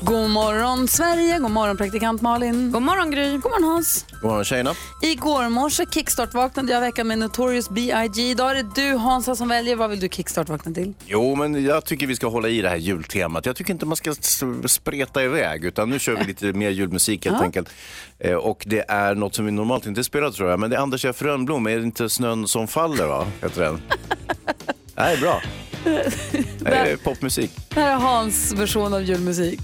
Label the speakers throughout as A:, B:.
A: God morgon Sverige, god morgon praktikant Malin. God morgon Gry. God morgon Hans.
B: God morgon tjejerna.
A: Igår morse kickstart-vaknade jag veckan med Notorious B.I.G. Idag är det du Hansa som väljer. Vad vill du kickstart-vakna till?
B: Jo, men jag tycker vi ska hålla i det här jultemat. Jag tycker inte man ska s- spreta iväg, utan nu kör vi lite mer julmusik helt
A: Ja.
B: enkelt. Eh, Och det är något som vi normalt inte spelar tror jag, men det är Anders F. Rönnblom, är det inte snön som faller va? Heter den. Nej, bra. Det är popmusik.
A: Det här är Hans version av julmusik.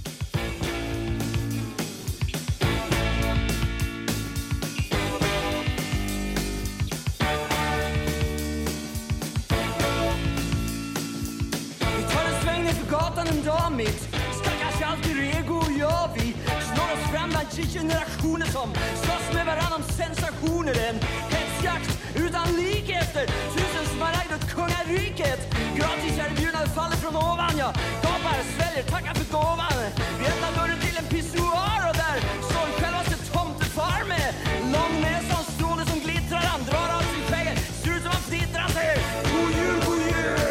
C: Vi tar en sväng ner för gatan en dag mitt Stackars alter ego och jag vi Snår oss fram bland generationer som slåss med varann om sensationer En hetsjakt utan lik efter tusen smaragd åt kungariket Gratis erbjudande faller från ovan Jag gapar, sväljer, tackar för gåvan Vi öppnar dörren till en pissoar och där står självaste tomtefar med lång näsa och stråle som glittrar Han drar av sig skägget, ser ut som han fnittrar Han säger God jul, god jul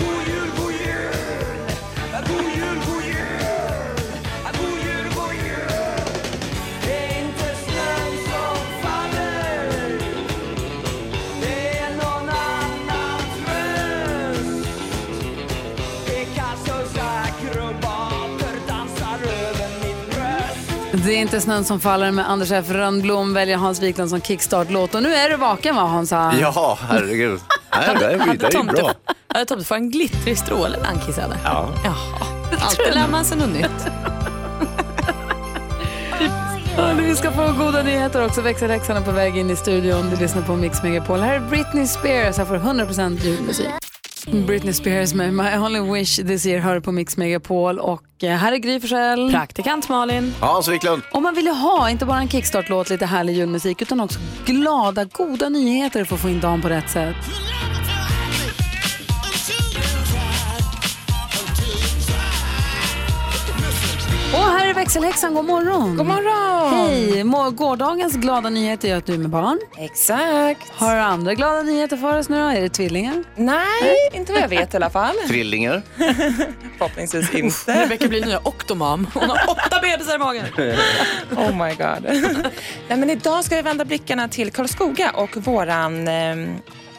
C: God jul, god jul! God jul, god jul! God jul, god jul! Det är inte snön som faller Det är någon annan tröst Picassos akrobater dansar över mitt bröst
A: Det är inte snön som faller med Anders F. Rönnblom väljer Hans Wiklund som kickstart-låt. Och nu är du vaken va Hansa?
B: Ja, herregud. Nej, det är, det är ju bra.
D: Hade tomtefar en glittrig stråle när han kissade?
B: Ja.
D: Alltid lär man sig något nytt.
A: Ja, Vi ska få goda nyheter också. Växelhäxan är på väg in i studion. Du lyssnar på Mix Megapol. Här är Britney Spears. Här får du 100% julmusik. Britney Spears med My Only Wish This Year hör på Mix Megapol. Och eh, här är Gry Forssell.
D: Praktikant Malin.
B: Hans Wiklund.
A: Om man vill ju ha inte bara en kickstart-låt, lite härlig julmusik, utan också glada, goda nyheter för att få in dagen på rätt sätt. Och här är växelhäxan, god morgon! God morgon! Hej! Må- Gårdagens glada nyheter är att du är med barn.
E: Exakt.
A: Har du andra glada nyheter för oss nu då? Är det tvillingar?
E: Nej, inte vad jag vet i alla fall.
B: Trillingar.
E: Förhoppningsvis inte.
D: Rebecca blir nya Octomam. Hon har åtta bebisar i magen.
E: Oh my god. Nej, men idag ska vi vända blickarna till Karlskoga och våran eh,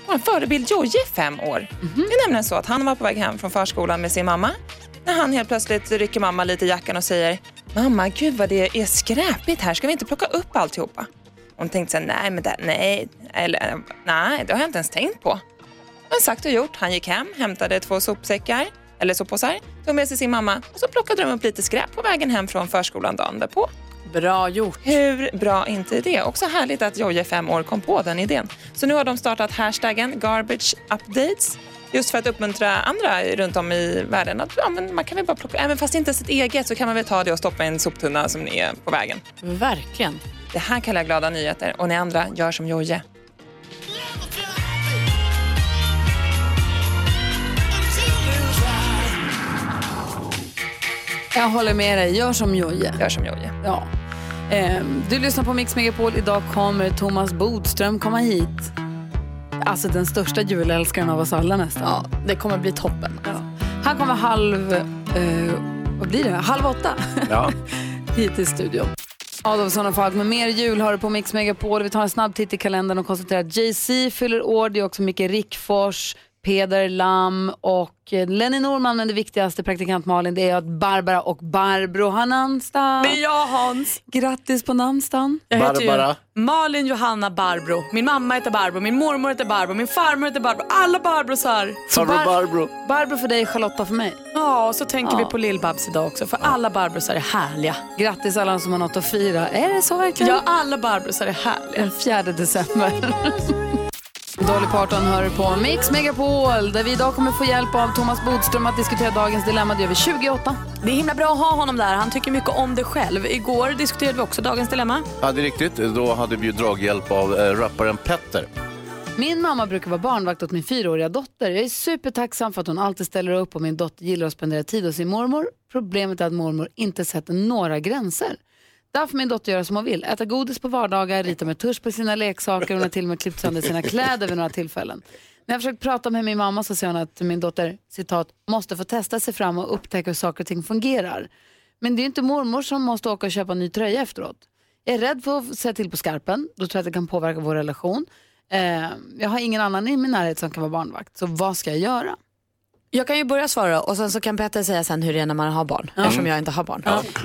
E: vår förebild Jojje, fem år. Det är nämligen så att han var på väg hem från förskolan med sin mamma när han helt plötsligt rycker mamma lite i jackan och säger Mamma, gud vad det är skräpigt här. Ska vi inte plocka upp alltihopa? Hon tänkte så här, nej, men det, nej, eller, nej, det har jag inte ens tänkt på. Men sagt och gjort, han gick hem, hämtade två sopsäckar, eller soppåsar, tog med sig sin mamma och så plockade de upp lite skräp på vägen hem från förskolan dagen därpå.
D: Bra gjort.
E: Hur bra är inte det? Också härligt att Jojje, fem år, kom på den idén. Så nu har de startat hashtaggen Garbage Updates just för att uppmuntra andra runt om i världen att ja, men man kan väl bara plocka, även fast det inte är sitt eget så kan man väl ta det och stoppa i en soptunna som är på vägen.
D: Verkligen.
E: Det här kallar jag glada nyheter och ni andra gör som Jojje.
A: Jag håller med dig, gör som Jojje.
E: Gör som Jojje.
A: Ja. Ehm, du lyssnar på Mix Megapol. Idag kommer Thomas Bodström komma hit. Alltså den största julälskaren av oss alla nästan.
D: Ja, det kommer bli toppen.
A: Han kommer halv... eh, vad blir det? Halv åtta
B: Ja.
A: hit till studion. Adolfsson och Falk med mer jul har du på Mix Megapol. Vi tar en snabb titt i kalendern och konstaterar att Jay-Z fyller år. Det är också Micke Rickfors, Peder Lam och eh, Lenny Norman. Men det viktigaste, praktikant Malin, det är att Barbara och Barbro har namnsdag.
D: Det är jag Hans.
A: Grattis på namnsdagen.
D: Jag heter ju
B: Barbara.
D: Malin Johanna Barbro. Min mamma heter Barbro, min mormor heter Barbro, min farmor heter Barbro. Alla Barbrosar.
B: Farbror
A: Bar-
B: Barbro.
A: Barbro för dig, Charlotta för mig.
D: Ja, och så tänker vi på Lill-Babs idag också för alla Barbrosar är härliga.
A: Grattis alla som har något att fira. Är det så verkligen?
D: Ja, alla Barbrosar är härliga.
A: Den 4 december. Dolly Parton hör på Mix Megapol där vi idag kommer få hjälp av Thomas Bodström att diskutera dagens dilemma. Det gör vi 28.
D: Det är himla bra att ha honom där. Han tycker mycket om det själv. Igår diskuterade vi också dagens dilemma.
B: Ja, det är riktigt. Då hade vi ju draghjälp av eh, rapparen Petter.
A: Min mamma brukar vara barnvakt åt min fyraåriga dotter. Jag är supertacksam för att hon alltid ställer upp och min dotter gillar att spendera tid hos sin mormor. Problemet är att mormor inte sätter några gränser. Där får min dotter göra som hon vill. Äta godis på vardagar, rita med tusch på sina leksaker. Hon har till och med klippt sönder sina kläder vid några tillfällen. När jag försökt prata med min mamma så säger hon att min dotter, citat, måste få testa sig fram och upptäcka hur saker och ting fungerar. Men det är ju inte mormor som måste åka och köpa en ny tröja efteråt. Jag är rädd för att säga till på skarpen, då tror jag att det kan påverka vår relation. Eh, jag har ingen annan i min närhet som kan vara barnvakt, så vad ska jag göra?
D: Jag kan ju börja svara och sen så kan Petter säga sen hur det är när man har barn eftersom jag inte har barn.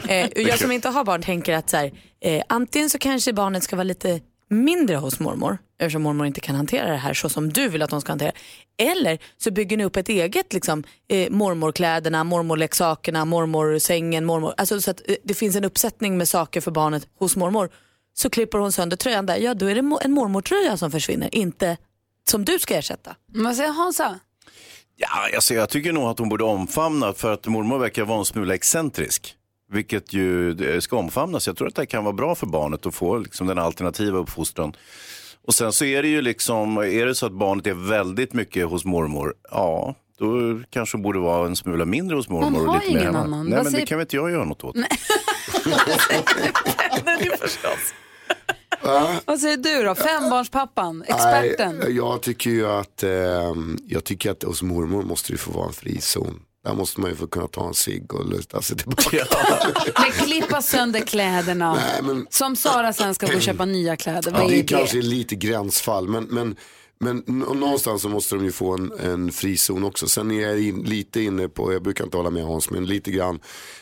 D: Eh, och jag som inte har barn tänker att så här, eh, antingen så kanske barnet ska vara lite mindre hos mormor eftersom mormor inte kan hantera det här så som du vill att hon ska hantera Eller så bygger ni upp ett eget liksom, eh, mormorkläderna, mormorleksakerna, mormorsängen, mormor. Alltså så att eh, det finns en uppsättning med saker för barnet hos mormor. Så klipper hon sönder tröjan där, ja då är det mo- en mormortröja som försvinner, inte som du ska ersätta.
A: Vad säger Hansa?
B: Ja, alltså, jag tycker nog att hon borde omfamna för att mormor verkar vara en smula excentrisk. Vilket ju eh, ska omfamnas. Jag tror att det här kan vara bra för barnet att få liksom, den alternativa uppfostran. Och sen så är det ju liksom, är det så att barnet är väldigt mycket hos mormor, ja då kanske hon borde vara en smula mindre hos mormor.
A: Hon
B: och
A: har
B: lite mer
A: ingen
B: hemma.
A: annan.
B: Nej
A: Vad
B: men
A: säger-
B: det kan väl inte jag göra något åt.
A: Vad säger du då? Fembarnspappan, experten.
F: Nej, jag tycker ju att, ehm, jag tycker att hos mormor måste det få vara en frizon. Där måste man ju få kunna ta en cigg och luta sig tillbaka.
A: Men klippa sönder kläderna.
F: Nej, men,
A: Som Sara sen ska gå och köpa nya kläder. Vad
F: ja, det
A: är
F: är kanske
A: det?
F: lite gränsfall, men, men, men n- någonstans så måste de ju få en, en frizon också. Sen är jag in, lite inne på, jag brukar inte hålla med Hans, men lite grann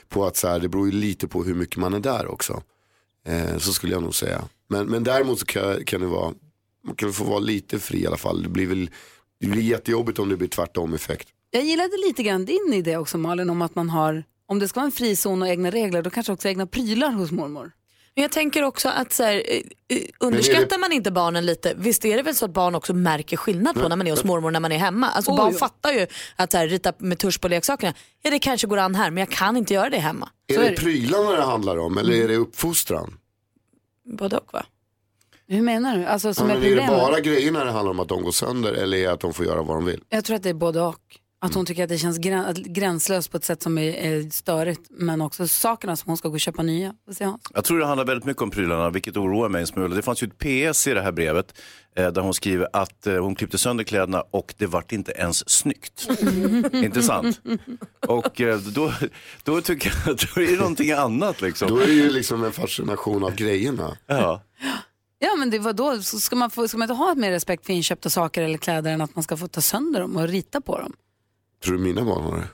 F: på att så här, det beror ju lite på hur mycket man är där också. Eh, så skulle jag nog säga. Men, men däremot så kan, kan det vara, man kan få vara lite fri i alla fall. Det blir väl det blir jättejobbigt om det blir tvärtom effekt.
A: Jag gillade lite grann din idé också Malin om att man har, om det ska vara en frizon och egna regler, då kanske också egna prylar hos mormor.
D: Men jag tänker också att så här, eh, eh, underskattar man inte barnen lite, visst är det väl så att barn också märker skillnad på när man är hos mormor och när man är hemma. Alltså
A: Oj,
D: barn
A: ja.
D: fattar ju att så här, rita med tusch på leksakerna, ja det kanske går an här men jag kan inte göra det hemma.
F: Är
A: Så är
F: det
A: det.
F: prylarna det handlar om eller är det uppfostran?
D: Både och va?
A: Hur menar du? Alltså
F: Ja,
A: som är
F: men är det
A: problemet?
F: bara grejerna det handlar om att de går sönder eller är det att de får göra vad de vill?
A: Jag tror att det är både och. Att
F: Mm.
A: hon tycker att det känns grän, att- gränslöst på ett sätt som är, är störigt, men också sakerna som hon ska gå och köpa nya. Vad säger Hans?
B: Jag tror det handlar väldigt mycket om prylarna, vilket oroar mig en smula. Det fanns ju ett PS i det här brevet eh, där hon skriver att eh, hon klippte sönder kläderna och det vart inte ens snyggt. Intressant. Och eh, då, då tycker jag att det är någonting annat
F: Då
B: liksom.
F: är det ju liksom en fascination av grejerna.
B: Ja.
A: Ja men det var då, ska man, få, ska man inte ha mer respekt för inköpta saker eller kläder än att man ska få ta sönder dem och rita på dem?
F: Tror du mina barn har det?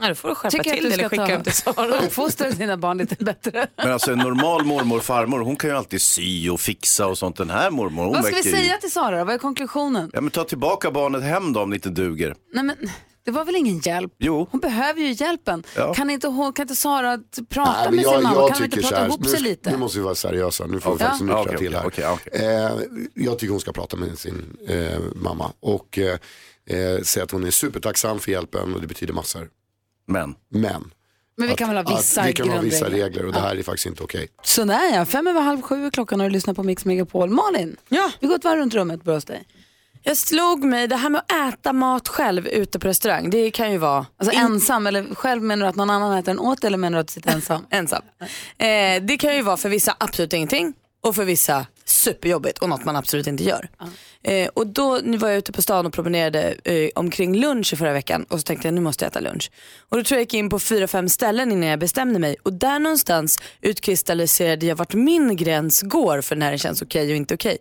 D: Nej, då får du skärpa
A: Tycker jag att
D: till
A: du
D: det eller
A: ska
D: skicka
A: ta-
D: hem till Sara.
A: Uppfostra dina barn lite bättre.
B: Men alltså en normal mormor och farmor, hon kan ju alltid sy och fixa och sånt. Den här mormor, hon
A: Vad ska vi
B: verkar ju-
A: säga till Sara då? Vad är konklusionen?
B: Ja, men ta tillbaka barnet hem då om det inte duger.
A: Nej men, det var väl ingen hjälp?
B: Jo.
A: Hon behöver ju hjälpen.
B: Ja.
A: Kan, inte, hon- kan inte Sara t- prata
F: men
A: med sin mamma? kan de inte
F: tycker
A: prata
F: så här,
A: ihop
F: nu,
A: sig lite?
F: Nu måste vi vara seriösa, nu får vi
B: Okej.
F: faktiskt
B: Ja.
F: nyktra
B: Okej,
F: till här.
B: okej, okej,
F: Eh, jag tycker hon ska prata med sin eh, mamma och eh, eh, säga att hon är supertacksam för hjälpen och det betyder massor.
B: Men.
F: Men
A: men vi kan väl ha vissa
F: att vi kan ha vissa
A: grundregler.
F: regler och det här är faktiskt inte okej.
A: Sådär ja, fem över halv sju är klockan och du lyssnar på Mix Megapol. Malin,
D: Ja.
A: vi går ett varv runt rummet på hos dig.
D: Jag slog mig, det här med att äta mat själv ute på restaurang, det kan ju vara
A: Alltså ensam, eller själv menar du att någon annan äter den åt dig, eller menar du att du sitter ensam?
D: ensam. Eh, det kan ju vara för vissa absolut ingenting och för vissa superjobbigt och något man absolut inte gör. Eh, och då nu var jag ute på stan och promenerade eh, omkring lunch i förra veckan och så tänkte jag nu måste jag äta lunch. Och då tror jag jag gick in på fyra, fem ställen innan jag bestämde mig och där någonstans utkristalliserade jag vart min gräns går för när det känns okej och inte okej.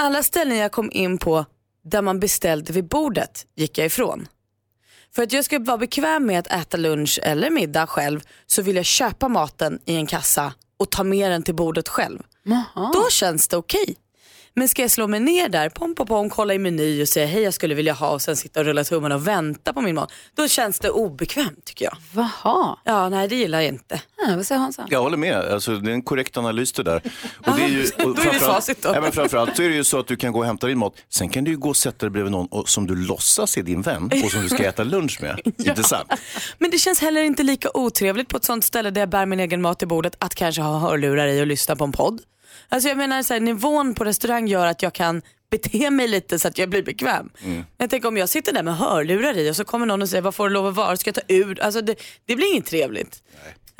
D: Alla ställen jag kom in på där man beställde vid bordet gick jag ifrån. För att jag ska vara bekväm med att äta lunch eller middag själv så vill jag köpa maten i en kassa och ta med den till bordet själv. Då känns det okej. Men ska jag slå mig ner där, pom pom pom, kolla i meny och säga hej jag skulle vilja ha och sen sitta och rulla tummarna och vänta på min mat. Då känns det obekvämt tycker jag.
A: Vaha.
D: Ja, nej det gillar jag inte.
A: Ja, vad säger Hansa?
B: Jag håller med, alltså, det är en korrekt analys det där. Och det är ju, och
D: det
B: framförallt-
D: facit då.
B: Nej, men framförallt så är det ju så att du kan gå och hämta din mat, sen kan du ju gå och sätta dig bredvid någon och, som du låtsas är din vän och som du ska äta lunch med. Inte sant?
D: Men det känns heller inte lika otrevligt på ett sånt ställe där jag bär min egen mat i bordet att kanske ha hörlurar i och lyssna på en podd. Alltså jag menar så här, nivån på restaurang gör att jag kan bete mig lite så att jag blir bekväm. Jag tänker om jag sitter där med hörlurar i och så kommer någon och säger vad får du lov att vara, ska jag ta ur? Alltså det, det blir inget trevligt.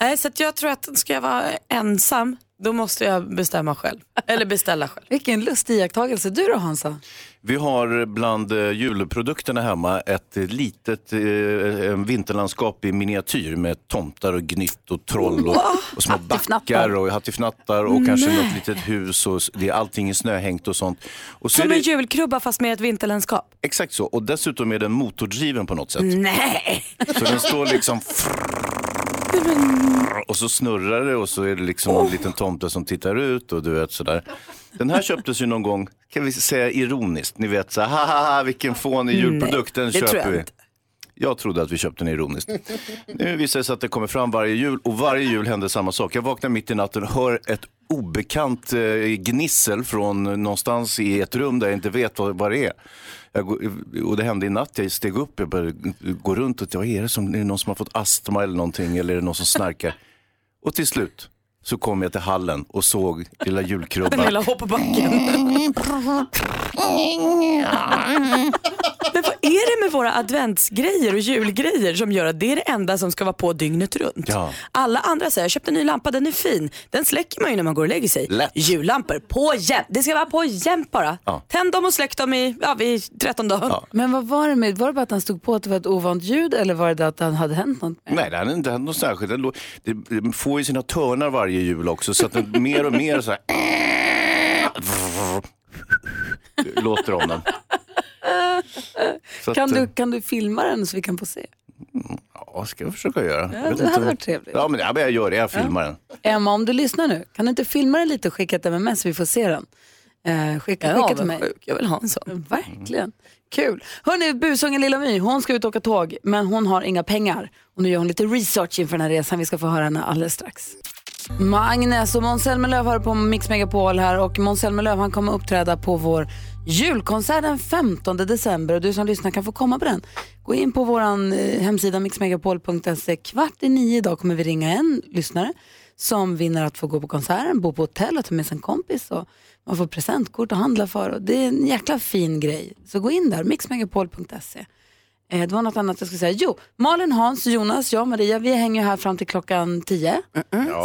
D: Nej. så att jag tror att ska jag vara ensam då måste jag bestämma själv. Eller beställa själv.
A: Vilken lustig iakttagelse. Du då Hansa?
B: Vi har bland eh, julprodukterna hemma ett eh, litet eh, eh, vinterlandskap i miniatyr med tomtar och gnytt och troll och, och små backar och hattifnattar och kanske något litet hus och s- det är allting är snöhängt och sånt. Och så är
D: Som en
B: det,
D: julkrubba fast med ett vinterlandskap.
B: exakt så, och dessutom är den motordriven på något sätt.
D: Nej!
B: Så den står liksom och så snurrar det och så är det liksom en liten tomte som tittar ut och du vet sådär. Den här köptes ju någon gång, kan vi säga ironiskt, ni vet så här, "Ha, ha ha, vilken fånig julprodukt, den
D: det tror
B: köper
D: jag
B: vi.
D: inte.
B: Jag trodde att vi köpte den ironiskt. Nu visar det sig att det kommer fram varje jul och varje jul händer samma sak. Jag vaknar mitt i natten och hör ett obekant eh, gnissel från någonstans i ett rum där jag inte vet vad, vad det är. Jag, går- och det hände i natt, jag steg upp, jag började gå runt och vad är det som, är det någon som har fått astma eller någonting eller är det någon som snarkar? Och till slut så kom jag till hallen och såg lilla
D: Den
B: julkrubban.
D: hela hoppbacken. Men vad är det med våra adventsgrejer och julgrejer som gör att det är det enda som ska vara på dygnet runt?
B: Ja.
D: Alla andra säger, jag köpte en ny lampa, den är fin. Den släcker man ju när man går och lägger sig.
B: Lätt.
D: Jullampor, på jämt. Det ska vara på jämt bara.
B: Ja.
D: Tänd dem och släck dem i, ja, vid 13 dagar.
B: Ja.
A: Men vad var det med, var det bara att han stod på att det var ett ovant ljud eller var det det att han hade hänt något? mer?
B: Nej, det hade inte hänt något särskilt. Den lå- det- Den får ju sina törnar varje jul också, så att den mer och mer så här... låter om den. Så
A: Kan
B: eh,
A: du, kan du filma den så vi kan få se?
B: Ja, ska jag försöka göra. Jag vet
A: det
B: inte
A: hade
B: vad-
A: varit trevligt.
B: Ja, men, ja, men jag gör det. Jag filmar den.
A: Emma, om du lyssnar nu, kan du inte filma den lite och skicka ett MMS så vi får se den? Eh, skicka,
D: Jag är
A: skicka till mig.
D: avundsjuk, jag vill ha en sån.
A: Verkligen. Kul. Hörni, busungen Lilla My, hon ska ut och åka tåg men hon har inga pengar. Och nu gör hon lite research inför den här resan. Vi ska få höra henne alldeles strax. Magnus och Måns Zelmerlöw har på Mix Megapol här och Måns Zelmerlöw han kommer uppträda på vår julkonsert den 15 december och du som lyssnar kan få komma på den. Gå in på vår hemsida mixmegapol.se. Kvart i nio idag kommer vi ringa en lyssnare som vinner att få gå på konserten, bo på hotell och ta med sig en kompis och man får presentkort att handla för. Och det är en jäkla fin grej. Så gå in där, mixmegapol.se. Eh, Det var något annat jag skulle säga. Jo, Malin, Hans, Jonas, jag och Maria, vi hänger ju här fram till klockan tio.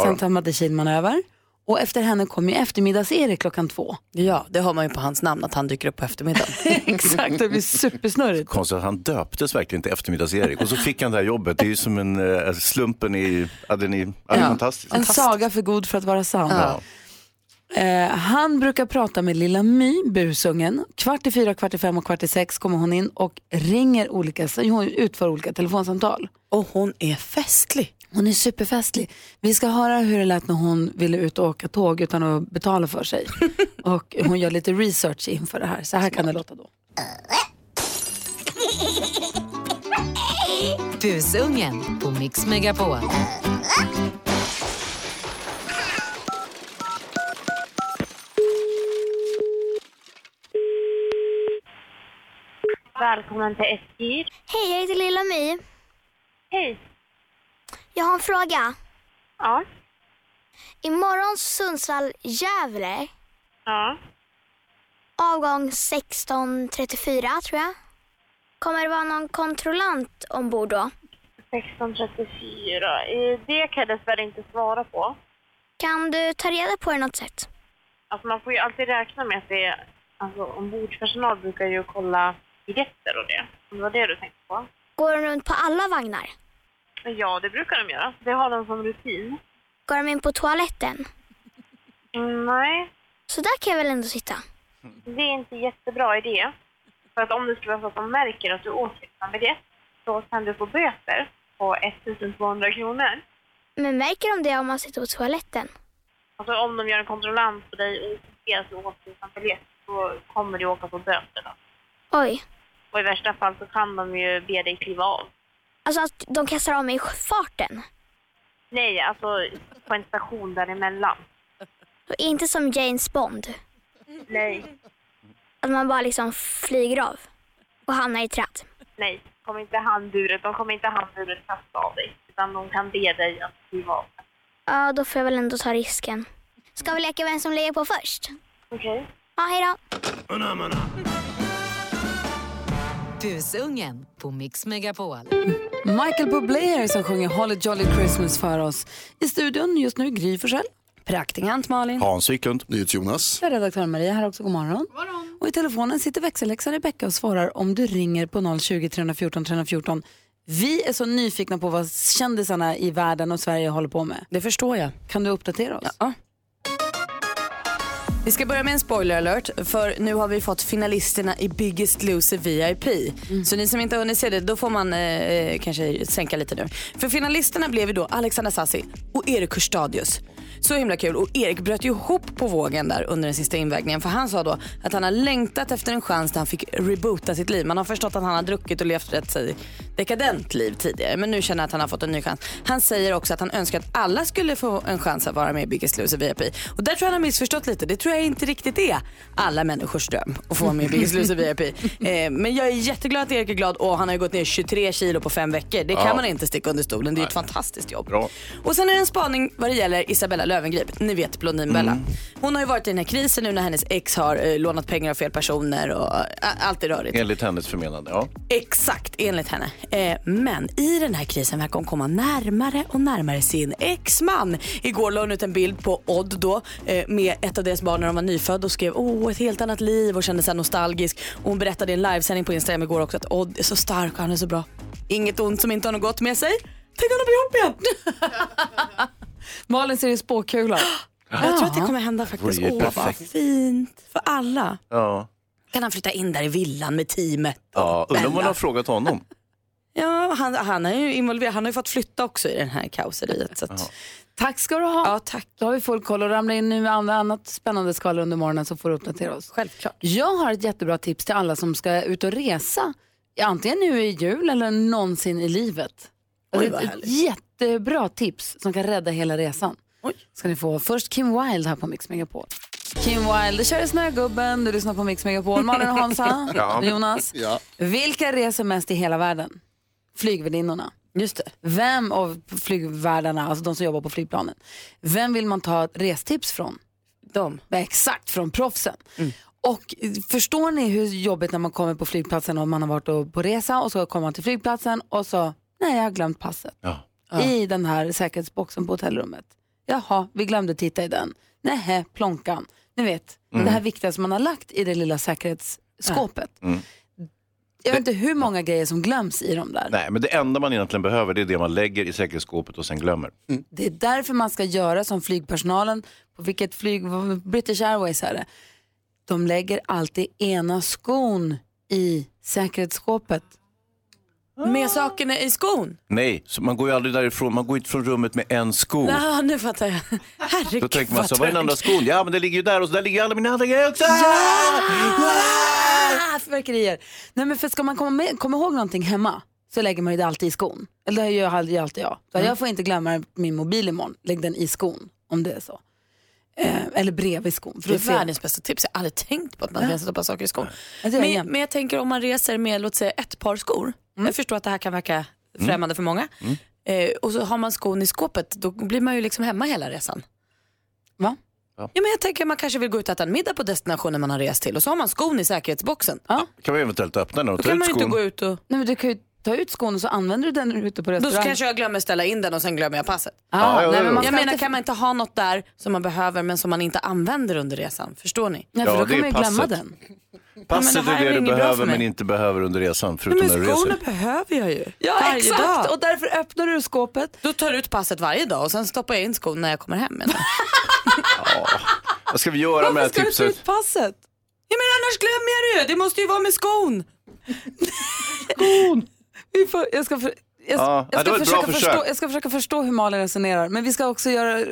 A: Sen tar Madde Kihlman över. Och efter henne kommer ju eftermiddags-Erik klockan två.
D: Ja, det har man ju på hans namn att han dyker upp på eftermiddagen.
A: Exakt, det blir supersnurrigt.
B: Konstigt att han döptes verkligen till eftermiddags-Erik och så fick han det här jobbet. Det är ju som en eh, slumpen i... Ja, den är, ja, det är
D: Ja.
B: fantastiskt.
A: En saga för god för att vara sann.
B: Ja.
A: Eh, han brukar prata med lilla My, busungen. Kvart i fyra, kvart i fem och kvart i sex kommer hon in och ringer olika, så hon utför olika telefonsamtal.
D: och hon är festlig.
A: Hon är superfestlig. Vi ska höra hur det lät när hon ville ut och åka tåg utan att betala för sig. Och hon gör lite research inför det här. Så här kan det låta då.
G: Busungen på Mix Megapol.
H: Välkommen till SJ.
I: Hej, jag heter Lilla My.
H: Hej.
I: Jag har en fråga.
H: Ja.
I: Imorgon Sundsvall-Gävle,
H: Ja.
I: avgång 16.34 tror jag. Kommer det vara någon kontrollant ombord då?
H: 1634. Eh, Det kan jag dessvärre inte svara på.
I: Kan du ta reda på det något sätt?
H: Alltså man får ju alltid räkna med att det är... Alltså ombordpersonal brukar ju kolla biljetter och det. Om det var det du tänkte på.
I: Går de runt på alla vagnar?
H: Men Ja, det brukar de göra. Det har de som rutin.
I: Går de in på toaletten?
H: Mm, Nej,
I: Så där kan jag väl ändå sitta?
H: det är inte jättebra idé. För att om det skulle vara så att de märker att du åker utan biljett så kan du få böter på 1200 kronor.
I: Men märker de det om man sitter på toaletten?
H: Alltså om de gör en kontrollant på dig och ser att du åker utan biljett, då så kommer du åka på böter. Då.
I: Oj.
H: Och i värsta fall så kan de ju be dig kliva av.
I: Alltså att de kastar av mig i farten.
H: Nej, alltså på en station däremellan.
I: Och Inte som James Bond.
H: Nej,
I: Att man bara liksom flyger av och hamnar i träd.
H: nej. Kom inte handburet. De kommer inte handburet kasta av dig. Utan de kan be dig att kliva av.
I: Ja, då får jag väl ändå ta risken. Ska vi leka vem som lägger på först?
H: Okej.
I: Ja, hej då.
G: Busungen på Mix Megapol.
A: Michael Bublé här som sjunger Holly Jolly Christmas för oss. I studion just nu Gry Forssell, praktikant Malin,
B: Hans Wiklund.
F: Jonas.
A: Jag är redaktör Maria här också, god morgon. Och i telefonen sitter växelläxan Rebecka och svarar om du ringer på 020 314 314. Vi är så nyfikna på vad kändisarna i världen och Sverige håller på med.
D: Det förstår jag.
A: Kan du uppdatera oss?
D: Ja. Vi ska börja med en spoiler alert för nu har vi fått finalisterna i Biggest Loser VIP. Så ni som inte har hunnit se det, då får man eh, kanske sänka lite nu. För finalisterna blev ju då Alexandra Sassi och Erik Hurstadius. Så himla kul och Erik bröt ju ihop på vågen där under den sista invägningen för han sa då att han har längtat efter en chans där han fick reboota sitt liv. Man har förstått att han har druckit och levt ett eh, dekadent liv tidigare men nu känner han att han har fått en ny chans. Han säger också att han önskar att alla skulle få en chans att vara med i Biggest Loser VIP. Och där tror jag han har missförstått lite. Det tror jag inte riktigt är alla människors dröm att få vara med i Biggest Loser VIP. Eh, men jag är jätteglad att Erik är glad och han har ju gått ner 23 kilo på fem veckor. Det kan
F: Ja.
D: man inte sticka under stolen. Det är ju ett fantastiskt jobb.
F: Bra.
D: Och sen är det en spaning vad det gäller Isabella Löwengrip. Ni vet Blondinbella. Hon har ju varit i den här krisen nu när hennes ex har eh, lånat pengar av fel personer och eh, allt är rörigt.
B: Enligt hennes förmenande, ja.
D: Exakt, enligt henne. Eh, men i den här krisen verkar hon komma närmare och närmare sin exman. Igår la hon ut en bild på Odd då eh, med ett av deras barn när de var nyfödda och skrev åh ett helt annat liv och kände sig nostalgisk. Och hon berättade i en livesändning på Instagram igår också att Odd är så stark och han är så bra. Inget ont som inte har något gott med sig. Tänk om de blir ihop igen!
A: Malin ser i spåkula.
D: Jag tror att det kommer hända faktiskt.
A: Det vore ju
D: Åh vad
A: perfekt.
D: fint för alla.
B: Ja,
D: Kan han flytta in där i villan med teamet?
B: ja. undrar om man
D: Bella.
B: har frågat honom.
D: Ja, han, han är ju involverad. Han har ju fått flytta också i det här kaoseriet. Så att...
A: Tack ska du ha. Ja, tack. Då har vi full koll och ramlar in nu med andra, annat spännande skvaller under morgonen så får du uppdatera oss.
D: Självklart.
A: Jag har ett jättebra tips till alla som ska ut och resa. Antingen nu i jul eller någonsin i livet.
D: Oj,
A: Alltså,
D: vad
A: ett jättebra tips som kan rädda hela resan. Oj. Ska ni få först Kim Wilde här på Mix Megapol. Kim Wilde kör i Snögubben, du lyssnar på Mix Megapol. Malin och Hansa,
J: Ja.
A: Jonas.
J: Ja.
A: Vilka reser mest i hela världen? Flygvärdinnorna.
D: Just det.
A: Vem av flygvärdarna, alltså de som jobbar på flygplanen, vem vill man ta restips från?
D: Dem.
A: Exakt, från proffsen. Och eh, förstår ni hur jobbigt när man kommer på flygplatsen och man har varit och- på resa och så kommer man till flygplatsen och så, nej jag har glömt passet. I den här säkerhetsboxen på hotellrummet. Jaha, vi glömde titta i den. Nähä, plånkan. Ni vet,
J: Mm.
A: det här viktiga som man har lagt i det lilla säkerhetsskåpet.
B: Mm.
A: Jag vet inte hur många grejer som glöms i de där.
B: Nej, men det enda man egentligen behöver det är det man lägger i säkerhetsskåpet och sen glömmer.
A: Det är därför man ska göra som flygpersonalen på vilket flyg, British Airways är det. De lägger alltid ena skon i säkerhetsskåpet.
D: Med sakerna i skon?
B: Nej, så man går ju aldrig därifrån. Man går inte från rummet med en
A: Oh.
B: sko.
D: Ja, nu fattar jag. Herregud
B: Då tänker man så,
D: vad
B: var är den andra
D: tråkigt.
B: skon? Ja, men det ligger ju där och så där ligger ju alla mina andra grejer också.
A: Ah, fyrverkerier. Nej men för ska man komma, med, komma ihåg någonting hemma så lägger man ju det alltid i skon. Eller det gör ju alltid jag.
D: Mm.
A: Så Jag får inte glömma min mobil imorgon, lägg den i skon om det är så. Eh, eller bredvid skon. För
D: Det är
A: då ser jag.
D: världens bästa tips. Jag har aldrig tänkt på att man kan stoppa saker i skon.
A: Alltså, jag är
D: men, men jag tänker om man reser med låt säga ett par skor. Jag förstår att det här kan verka
A: Mm.
D: främmande för många. Eh, och så har man skon i skåpet, då blir man ju liksom hemma hela resan.
A: Va?
B: Ja.
D: men jag tänker man kanske vill gå ut och äta en middag på destinationen man har rest till och så har man skon i säkerhetsboxen.
A: Ja.
B: Kan man eventuellt öppna den och
D: Då
B: ta
D: kan
B: ut
D: man ju inte gå
B: skon?
D: ut och...
A: Nej, men du kan ju ta ut skon och så använder du den när du är ute på
D: Då
A: restaurang.
D: kanske jag glömmer ställa in den och sen glömmer jag passet.
A: Ah, Ja, ja, nej, ja, men ja. man
D: jag
A: ska
D: menar,
A: inte-
D: kan man inte ha något där som man behöver men som man inte använder under resan? Förstår ni?
A: Nej, för Ja, då det kan är man ju glömma passet. den.
B: Passet
D: här
B: är
D: är
B: det du
D: inget bra för
B: behöver
D: mig.
B: men inte behöver under resan,
D: Nej,
B: förutom när du
D: men skorna
B: reser.
D: behöver jag ju.
A: Ja, exakt.
D: Och
A: därför öppnar du skåpet.
D: Då tar du ut passet varje dag och sen stoppar jag in skon när jag kommer hem. menar jag.
B: Vad ska vi göra med det här tipset?
A: passet?
D: Ja, men annars glömmer jag det ju. Det måste ju vara med skon.
A: skon. Vi får, jag ska för, Jag,
B: Ja,
A: jag,
B: det
A: ska
B: var ett
A: försöka
B: bra försök.
A: förstå, jag ska försöka förstå hur Malin resonerar, men vi ska också göra eh,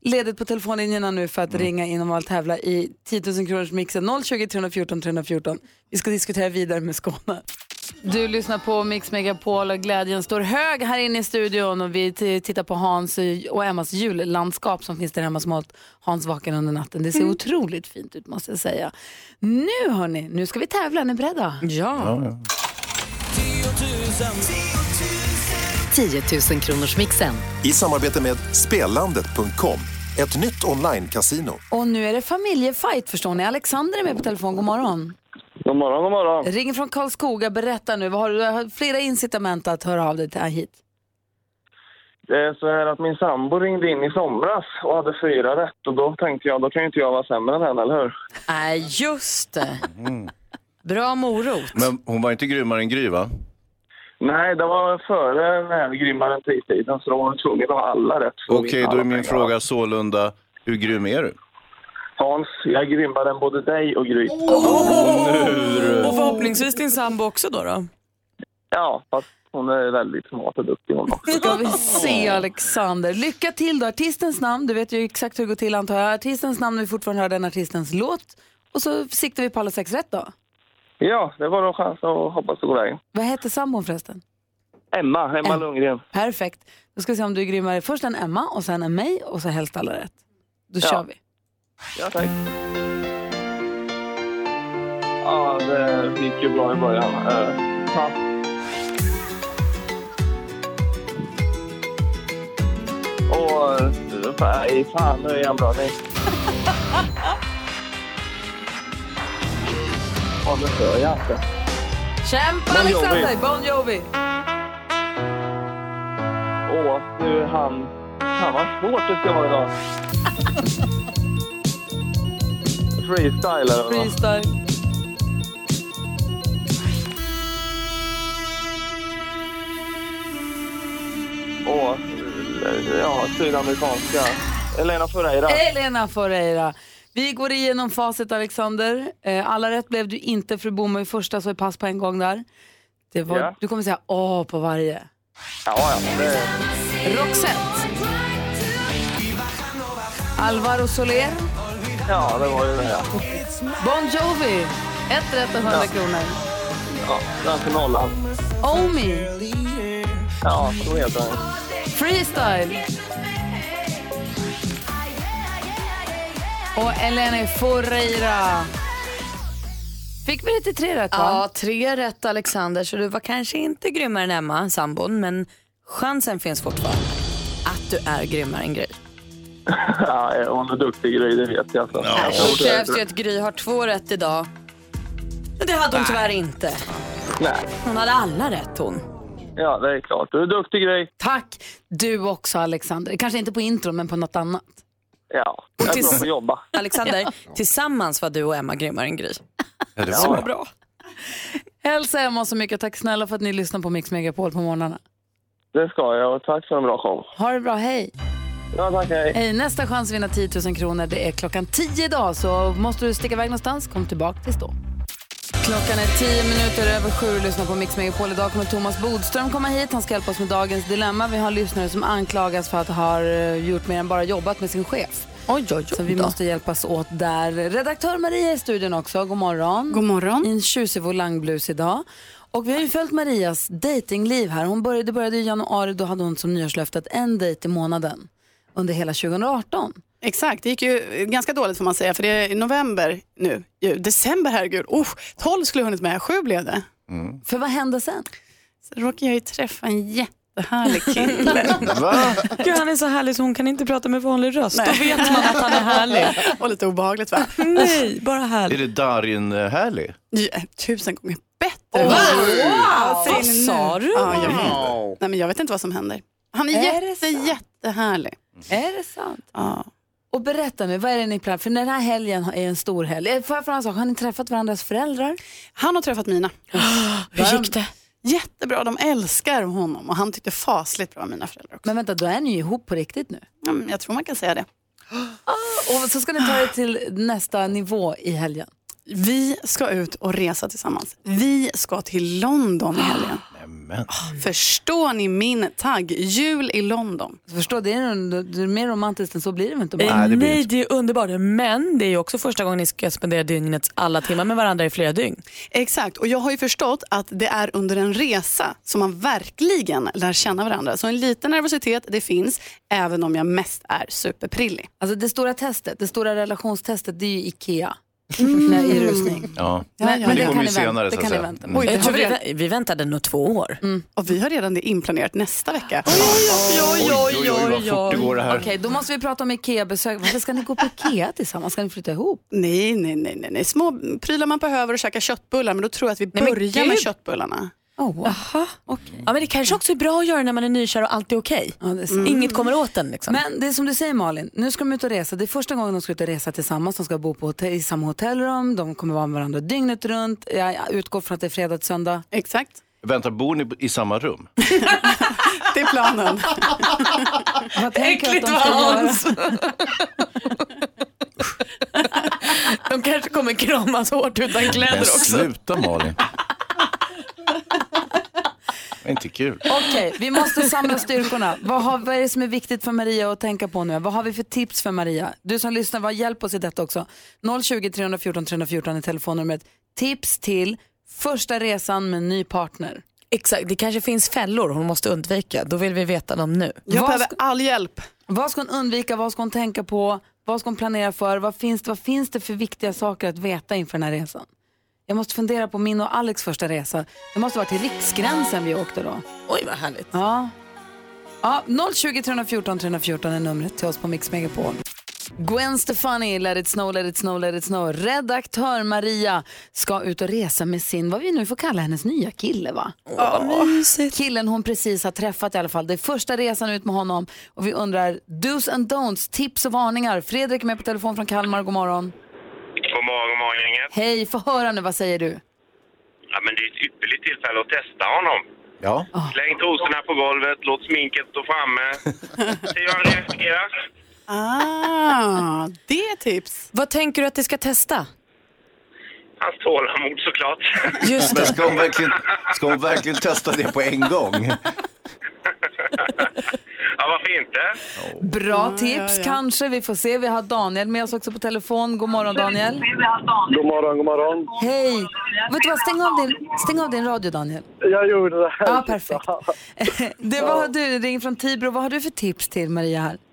A: ledigt på telefonlinjerna nu för att
B: Mm.
A: ringa in och vara tävla i 10 000 kronors mixen 020 314 314. Vi ska diskutera vidare med Skåne. Du lyssnar på Mix Megapol och glädjen står hög här inne i studion och vi t- tittar på Hans och Emmas jullandskap som finns där hemma som hållit Hans vaken under natten. Det ser
D: Mm.
A: otroligt fint ut måste jag säga. Nu hörni, nu ska vi tävla. Är ni beredda?
D: Ja.
K: 10 000 kronors mixen.
L: I samarbete med Spelandet.com, ett nytt online-casino.
A: Och nu är det familjefight förstår ni. Alexander är med på telefon. God morgon.
C: God morgon, god morgon.
A: Ringer från Karlskoga. Berätta nu. Vad har du, du har flera incitament att höra av dig till hit.
C: Det är så här att min sambo ringde in i somras och hade fyra rätt och då tänkte jag då kan ju inte jag vara sämre än henne, eller hur?
D: Nej, just det.
A: Mm.
D: Bra morot.
B: Men hon var inte grymmare än Gry va?
C: Nej, det var före den här grymmare tidstiden så då var jag tvungen att ha alla rätt. för att
B: Okej,
C: vinna
B: då är
C: alla
B: min
C: pengar.
B: fråga sålunda, hur grym är du?
C: Hans, jag är grymmare än både dig och Gry.
B: Oh!
D: Och förhoppningsvis din sambo också då. då.
C: Ja, fast hon är väldigt smart och duktig hon också.
A: Ska vi se Alexander. Lycka till då. Artistens namn. Du vet ju exakt hur det går till antar jag. Artistens namn när vi fortfarande hör den artistens låt. Och så siktar vi på alla sex rätt då.
C: Ja, det var en chans och hoppas det går vägen.
A: Vad heter sambon förresten?
C: Emma, Emma
A: Em-
C: Lundgren.
A: Perfekt. Då ska vi se om du är grymmare. Först en Emma och sen en mig och så helst alla rätt. Då
C: Ja.
A: kör vi.
C: Ja, tack. Ja, det gick ju bra i början. Eh, pass. Åh, nej, eh, fan nu är jag bra. Nej. Åh, nu hör jag inte.
A: Kämpa
C: Bon Jovi.
A: Alexander! Bon Jovi!
C: Åh, nu är han... Fan vad svårt det ska vara idag. Freestyle eller vad?
A: Freestyle.
C: Åh, ja, sydamerikanska. Elena Ferreira.
A: Elena Ferreira. Vi går igenom facit Alexander. Eh, Alla rätt blev du inte för du bommade i första så är pass på en gång där. Det var,
C: Ja.
A: Du kommer säga A på varje.
C: Ja, ja. Det...
A: Roxette. Alvaro Soler.
C: Ja, det var ju det. Ja,
A: Bon Jovi. Ett rätt och 100
C: Ja.
A: kronor.
C: ja den till nollan.
A: Omi.
C: Ja, så heter den.
A: Freestyle. Och Elena Ferreira. Fick vi det till tre rätt va?
D: Ja, tre rätt Alexander, så du var kanske inte grymmare än Emma, sambon, men chansen finns fortfarande att du är grymmare än Gry.
C: Ja, hon är duktig Gry, det vet jag. Så.
D: Ja, Då krävs ju att Gry har två rätt idag. Men det hade hon tyvärr inte.
C: Nej.
D: Hon hade alla rätt hon.
C: Ja, det är klart. Du är duktig Gry.
A: Tack! Du också Alexander. Kanske inte på intro men på något annat.
C: Ja, jag är bra på att jobba.
D: Alexander, tillsammans var du och Emma grymmare än Gry.
B: Ja, det
D: Så
B: var
D: bra.
A: Hälsa Emma så mycket. Tack snälla för att ni lyssnar på Mix Megapol på morgnarna.
C: Det ska jag och tack för en bra show.
A: Ha det bra, hej!
C: Ja, tack. Hej.
A: Hej, nästa chans att vinna 10 000 kronor det är klockan 10 idag. Så måste du sticka iväg någonstans, kom tillbaka tills då. Klockan är 10 minuter över sju och lyssnar på Mix Megapol. Idag kommer Thomas Bodström komma hit. Han ska hjälpa oss med dagens dilemma. Vi har en lyssnare som anklagas för att ha eh, gjort mer än bara jobbat med sin chef.
D: Oj, oj, oj.
A: Så vi
D: då.
A: måste hjälpas åt där. Redaktör Maria är i studion också. God morgon. God morgon. I en tjusig volangblus idag. Och vi har ju följt Marias datingliv här. Hon började, det började i januari, då hade hon som nyårslöftet en dejt i månaden under hela 2018.
M: Exakt, det gick ju ganska dåligt får man säga för det är november nu. Ju, december, herregud. Oh, 12 skulle jag hunnit med, 7 blev det.
A: För vad hände sen?
M: Så råkade jag ju träffa en jättehärlig kille.
D: Gud, han är så härlig så hon kan inte prata med vanlig röst. Då vet man att han är härlig.
M: Och lite obehagligt va?
A: Mm.
D: Nej, bara
B: Är
D: härlig.
B: det eh, Darin-härlig?
M: Ja, tusen gånger
D: Oj.
M: bättre. Ja, säger
D: Vad
M: ni nu?
D: sa du?
M: Ja, jag, vet. Nej, men jag vet inte vad som händer. Han är,
A: Är
M: jätte, jättehärlig.
A: Är det sant?
M: Ja.
A: Och berätta nu, vad är det ni planerar? För den här helgen är en stor helg. Eh, Får jag fråga en sak, har ni träffat varandras föräldrar?
M: Han har träffat mina. Hur gick det? Jättebra, de älskar honom och han tyckte fasligt bra om mina föräldrar också.
A: Men vänta, då är ni ju ihop på riktigt nu.
M: Ja, men jag tror man kan säga det.
A: Och så ska ni ta det till nästa nivå i helgen.
M: Vi ska ut och resa tillsammans. Vi ska till London i helgen. Ah, Förstår ni min tagg? Jul i London.
A: Förstå, det är, det är mer romantiskt än så blir det väl inte?
D: Eh, Nej, det är underbart. Men det är ju också första gången ni ska spendera dygnets alla timmar med varandra i flera dygn.
M: Exakt, och jag har ju förstått att det är under en resa som man verkligen lär känna varandra. Så en liten nervositet, det finns, även om jag mest är superprillig.
A: Alltså det stora testet, det stora relationstestet, det är ju IKEA.
M: Mm.
A: Nej, I rusning.
B: Ja.
A: Men- men
B: det
A: det
B: kommer
A: kan
B: ju
A: ni vänta-
B: senare. så
A: det kan
B: att
A: ni
B: säga.
A: vänta Mm.
B: Mm.
M: Oj,
D: Jag tror
M: har
D: vi, vi väntade nog två år.
M: Och vi har redan det inplanerat nästa vecka.
A: Oj, oj, oj,
B: vad
A: oj.
B: fort det går det här.
A: Okej, då måste vi prata om IKEA-besök. Varför ska ni gå på IKEA tillsammans? Ska ni flytta ihop?
M: Nej, nej, nej, nej, nej. Små prylar man behöver och käka köttbullar, men då tror jag att vi
A: men
M: börjar
A: gud.
M: med köttbullarna.
A: Oh, Aha.
D: Ja, men det kanske också är bra att göra när man är nykär och allt är okej.
A: sant.
D: Inget kommer åt en liksom.
A: Men det är som du säger Malin, nu ska de ut och resa. Det är första gången de ska ut och resa tillsammans. De ska bo på hotell, i samma hotellrum, de kommer vara med varandra dygnet runt. Jag jag utgår från att det är fredag till söndag.
M: Exakt.
B: Vänta, bor ni i samma rum?
M: Det är planen.
A: Vad tänker du
D: Äckligt,
A: att de ska
D: vad
A: göra?
D: Hans. De kanske kommer kramas hårt utan kläder
B: Men
D: också.
B: sluta Malin. Det är inte kul.
A: Okej, vi måste samla styrkorna. Vad, har, vad är det som är viktigt för Maria att tänka på nu? Vad har vi för tips för Maria? Du som lyssnar, vad hjälp oss i detta också. 020 314 314 är telefonnumret. Tips till första resan med ny partner.
D: Exakt, det kanske finns fällor hon måste undvika. Då vill vi veta dem nu.
M: Jag behöver all hjälp.
A: Vad ska hon undvika? Vad ska hon tänka på? Vad ska hon planera för? Vad finns, det- vad finns det för viktiga saker att veta inför den här resan? Jag måste fundera på min och Alex första resa. Det måste vara till Riksgränsen vi åkte då.
D: Oj, vad härligt.
A: Ja. Ja, 020 314 314 är numret till oss på Mix Megapol. Gwen Stefani, Let it snow, let it snow, let it snow. Redaktör Maria ska ut och resa med sin, vad vi nu får kalla hennes nya kille va? Killen hon precis har träffat i alla fall. Det är första resan ut med honom och vi undrar do's and don'ts, tips och varningar. Fredrik är med på telefon från Kalmar, god morgon.
N: God morgon, god morgon gänget.
A: Hej, få höra nu, vad säger du?
N: Ja, men det är ett ypperligt tillfälle att testa honom.
B: Ja.
N: Släng trosorna på golvet, låt sminket stå framme. Se hur han reagerar.
M: Ah, det är tips.
D: Vad tänker du att det ska testa?
N: Hans tålamod såklart.
B: Men ska hon, verkligen, ska hon verkligen testa det på en gång?
N: Ja, varför inte?
A: Bra tips kanske, vi får se. Vi har Daniel med oss också på telefon. God morgon Daniel.
O: God morgon, god morgon.
A: Hej! Vet du vad, stäng av din, stäng av din radio Daniel.
O: Jag gjorde det.
A: Ja, perfekt. Det var du, ring från Tibro. Vad har du för tips till Maria här?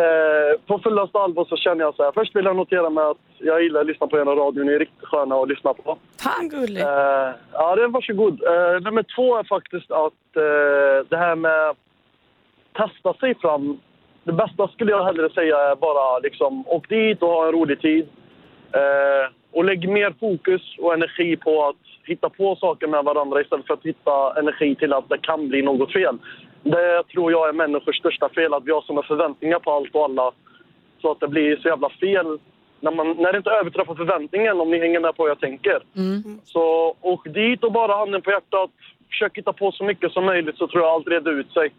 O: Eh, på fullaste allvar så känner jag så här. Först vill jag notera med att jag gillar att lyssna på er radio. Ni är riktigt sköna att lyssna på.
A: Tack!
O: Eh, ja, det är varsågod. Eh, nummer två är faktiskt att eh, det här med testa sig fram. Det bästa skulle jag hellre säga är bara liksom åk dit och ha en rolig tid. Eh, och lägg mer fokus och energi på att hitta på saker med varandra istället för att hitta energi till att det kan bli något fel. Det tror jag är människors största fel, att vi har såna förväntningar på allt och alla så att det blir så jävla fel när, man, när det inte överträffar förväntningen om ni hänger med på vad jag tänker.
A: Mm.
O: Så åk dit och bara handen på hjärtat. Försök hitta på så mycket som möjligt så tror jag allt reder ut sig.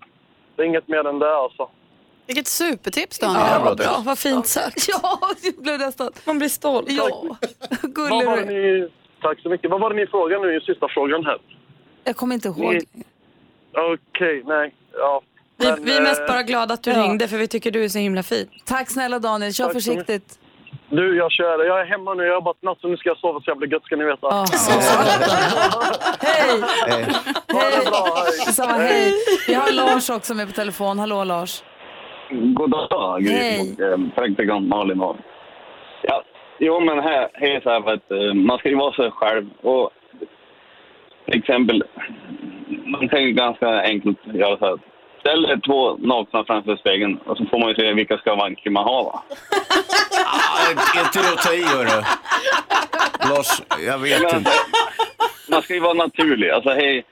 O: Det är inget mer än det alltså.
M: Vilket supertips Daniel.
O: Ja, vad bra.
D: Vad fint sagt.
A: Ja, det blev nästan...
D: Man blir stolt.
A: Ja,
O: Vad
A: gullig
O: var
A: du
O: det
A: är.
O: ni, tack så mycket. Vad var det ni frågade nu i sista frågan här?
A: Jag kommer inte ihåg.
O: Ni- Okej, nej. Ja.
D: Vi,
O: Men,
D: vi är mest
O: eh,
D: bara glada att du
A: ja.
D: ringde för vi tycker du är så himla fin.
A: Tack snälla Daniel, kör
O: Tack så
A: försiktigt.
O: Du, jag kör. Jag är hemma nu. Jag har jobbat natt så nu ska jag sova så jävla gött ska ni veta.
A: Hej!
B: Hej.
A: Detsamma, hej. Vi har Lars också med på telefon. Hallå Lars.
P: God dag,
A: Hej.
P: eh, praktikant Malin och... Ja, jo men här, här är så här för att eh, man ska ju vara sig själv och till exempel, man kan ju ganska enkelt göra så här. Ställ er två nakna framför spegeln och så får man ju se vilka skavanker man har va.
B: Ah, inte det att ta i hörru. Lars, jag vet inte.
P: alltså, Man ska ju vara naturlig. Alltså hej,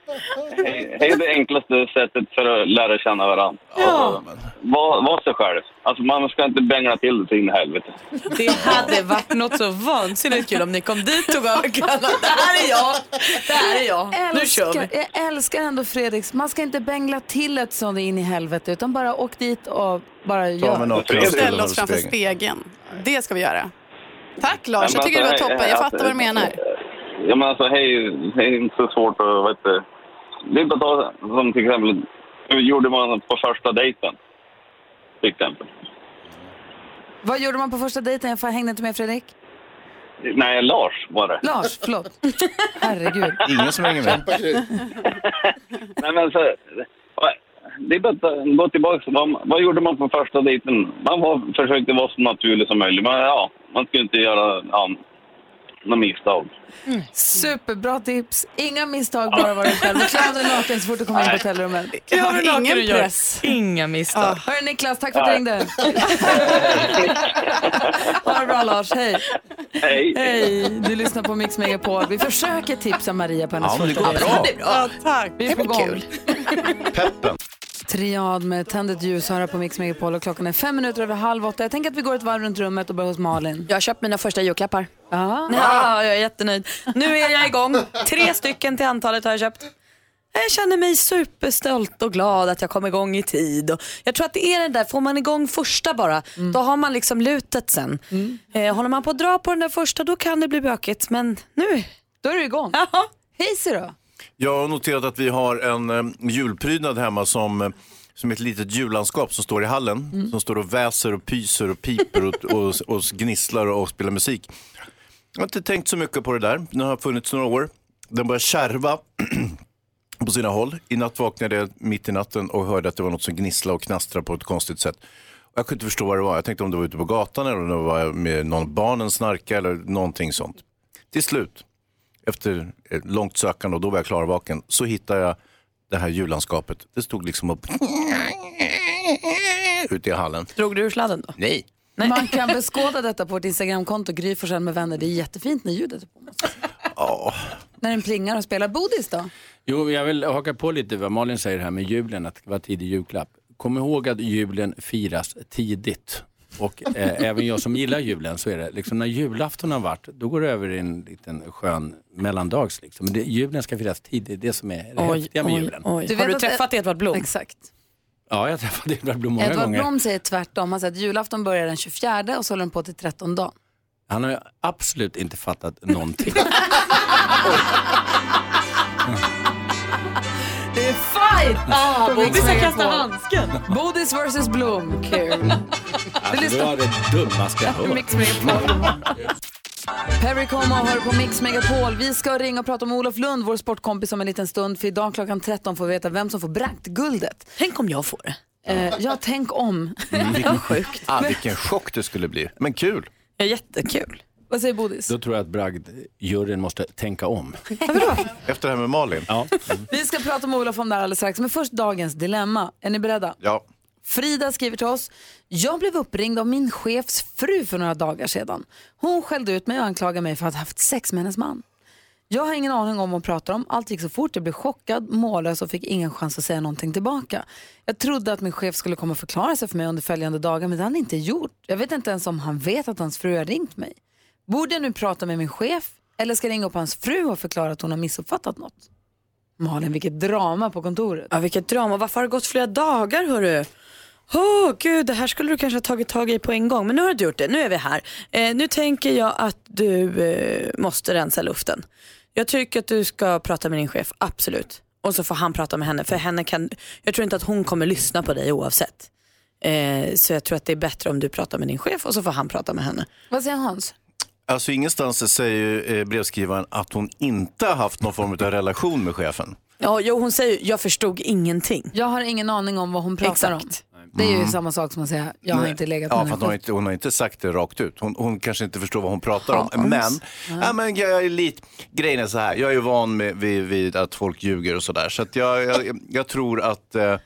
P: hej, hej är det enklaste sättet för att lära känna varandra.
A: Ja.
N: Alltså,
P: Var, var sig själv. Alltså man ska inte bängla till det så in i helvete.
D: Det hade varit något så vansinnigt kul om ni kom dit och bara Det här är jag, det här är jag.
A: Jag
D: Nu kör vi.
A: älskar, jag älskar ändå Fredriks. Man ska inte bängla till ett sånt in i helvete utan bara åk dit och bara
B: men något. Ställ
M: Ställ oss framför spegeln. Det ska vi göra. Tack Lars, jag tycker det var toppen. Jag fattar vad du menar.
N: Ja, men alltså, hej, det är inte så svårt att... Vet, du. det är bara att ta som till exempel, hur gjorde man på första dejten? Till exempel.
A: Vad gjorde man på första dejten? Jag hängde inte med Fredrik.
N: Nej, Lars var det.
A: Lars, förlåt. Herregud.
B: Ingen som hänger med.
N: Nej, men så, det är bara att gå tillbaka. Vad, vad gjorde man på första dejten? Man var, försökte vara så naturlig som möjligt. Men ja, man skulle inte göra ja, några misstag.
D: Mm.
A: Superbra tips. Inga misstag, bara vara dig själv. Klä av dig naken så fort du kommer in på hotellrummet.
E: Jag har ingen
A: Ingen press.
E: press. Inga misstag.
A: Ja. Hörru Niklas, tack för att du
E: Ja.
A: ringde. ha det bra Lars, hej.
N: Hej.
A: Hej, du lyssnar på Mix Megapol. Vi försöker tipsa Maria på hennes
B: Ja, men det
A: första
B: går
A: dejt.
B: bra. Ja,
A: är bra.
M: Tack.
A: Vi är på gång. Kul.
B: Peppen.
A: Triad med tändet ljus här på Mix Megapol och klockan är fem minuter över halv åtta. Jag tänker att vi går ett varv runt rummet och börjar hos Malin.
D: Jag har köpt mina första julklappar.
A: Ah.
D: Ja, jag är jättenöjd. Nu är jag igång. Tre stycken till antalet har jag köpt. Jag känner mig superstolt och glad att jag kom igång i tid. Och jag tror att det är den där, får man igång första bara,
A: Mm.
D: då har man liksom lutet sen. Eh, håller man på att dra på den där första då kan det bli bökigt, men nu.
A: Då är du igång. Hej så då.
B: Jag har noterat att vi har en eh, julprydnad hemma som, eh, som är ett litet jullandskap som står i hallen. Som står och väser och pyser och piper och, och, och gnisslar och spelar musik. Jag har inte tänkt så mycket på det där. Den har funnits några år. Den börjar kärva på sina håll. I natt vaknade jag mitt i natten och hörde att det var något som gnisslade och knastrade på ett konstigt sätt. Jag kunde inte förstå vad det var. Jag tänkte om det var ute på gatan eller om det var med någon barnen snarka eller någonting sånt. Till slut, efter eh, långt sökande och då var jag klarvaken, så hittade jag det här jullandskapet. Det stod liksom upp ute i hallen.
D: Drog du ur sladden då?
B: Nej.
A: Man kan beskåda detta på vårt Instagramkonto, Gry Forssell med vänner. Det är jättefint när ljudet är på. När den plingar och spelar. Bodis då?
Q: Jo, jag vill haka på lite vad Malin säger här med julen, att vara tidig julklapp. Kom ihåg att julen firas tidigt. Och eh, även jag som gillar julen så är det, liksom när julafton har varit, då går det över i en liten skön mellandags. Liksom. Men det, julen ska firas tidigt, det är det som är det
D: Oj,
Q: häftiga med
D: oj,
Q: julen.
D: oj. Har du träffat Edvard Blom?
A: Exakt.
Q: Ja, jag träffade Edvard Blom många
A: Edvard
Q: gånger.
A: Blom säger tvärtom. Han säger att julafton börjar den 24 och så håller den på till 13 dagen.
Q: Han har ju absolut inte fattat någonting.
A: Det är fight!
D: Ah,
A: på
D: Bodis
A: Mix
D: har
A: Megapol.
D: kastat handsken.
A: Bodis versus Blom. Kul.
Q: Alltså, det var det dummaste jag hört.
A: Mix Megapol. Perry Como hör på Mix Megapol. Vi ska ringa och prata om Olof Lund, vår sportkompis, om en liten stund. För idag klockan 13 får vi veta vem som får Bragdguldet.
D: Tänk om jag får det.
A: Eh, ja, tänk om.
B: sjukt. Ah, vilken chock det skulle bli. Men kul.
D: Ja, jättekul.
A: Vad säger Bodis?
Q: Då tror jag att Bragd-juryn måste tänka om.
B: Efter det här med Malin.
Q: Ja.
A: Vi ska prata med Olof om det här alldeles strax, men först dagens dilemma. Är ni beredda?
B: Ja.
A: Frida skriver till oss. Jag blev uppringd av min chefs fru för några dagar sedan. Hon skällde ut mig och anklagade mig för att ha haft sex med hennes man. Jag har ingen aning om vad hon pratar om. Allt gick så fort. Jag blev chockad, mållös och fick ingen chans att säga någonting tillbaka. Jag trodde att min chef skulle komma och förklara sig för mig under följande dagar, men det har han inte gjort. Jag vet inte ens om han vet att hans fru har ringt mig. Borde jag nu prata med min chef eller ska jag ringa upp hans fru och förklara att hon har missuppfattat något? Malin, vilket drama på kontoret.
D: Ja, vilket drama. Varför har det gått flera dagar hörru? Åh gud, det här skulle du kanske ha tagit tag i på en gång. Men nu har du inte gjort det, nu är vi här. Eh, nu tänker jag att du eh, måste rensa luften. Jag tycker att du ska prata med din chef, absolut. Och så får han prata med henne, för henne kan, jag tror inte att hon kommer lyssna på dig oavsett. Eh, så jag tror att det är bättre om du pratar med din chef och så får han prata med henne.
A: Vad säger Hans?
B: Alltså ingenstans säger ju eh, brevskrivaren att hon inte har haft någon form av relation med chefen.
D: Ja, jo, hon säger jag förstod ingenting.
A: Jag har ingen aning om vad hon pratar om. Det är ju
B: Mm.
A: samma sak som att säga, jag har
B: Nej.
A: inte legat
B: ja,
A: med
B: för att
A: henne.
B: hon, har inte, hon har inte sagt det rakt ut. Hon, hon kanske inte förstår vad hon pratar
A: Ja,
B: om. Men,
A: Hans.
B: ja. men jag är lite, grejen är så här, jag är ju van med, vid, vid att folk ljuger och sådär. Så att jag, jag, jag tror att eh,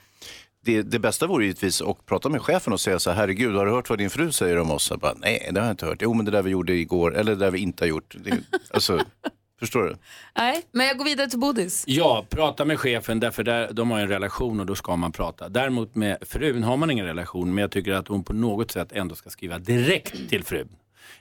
B: det, det bästa vore givetvis att prata med chefen och säga så här, herregud, har du hört vad din fru säger om oss? Jag bara, Nej, det har jag inte hört. Jo, men det där vi gjorde igår, eller det där vi inte har gjort. Det, alltså, förstår du?
A: Nej, men jag går vidare till Bodis.
Q: Ja, prata med chefen därför där, de har en relation och då ska man prata. Däremot med frun har man ingen relation men jag tycker att hon på något sätt ändå ska skriva direkt till frun.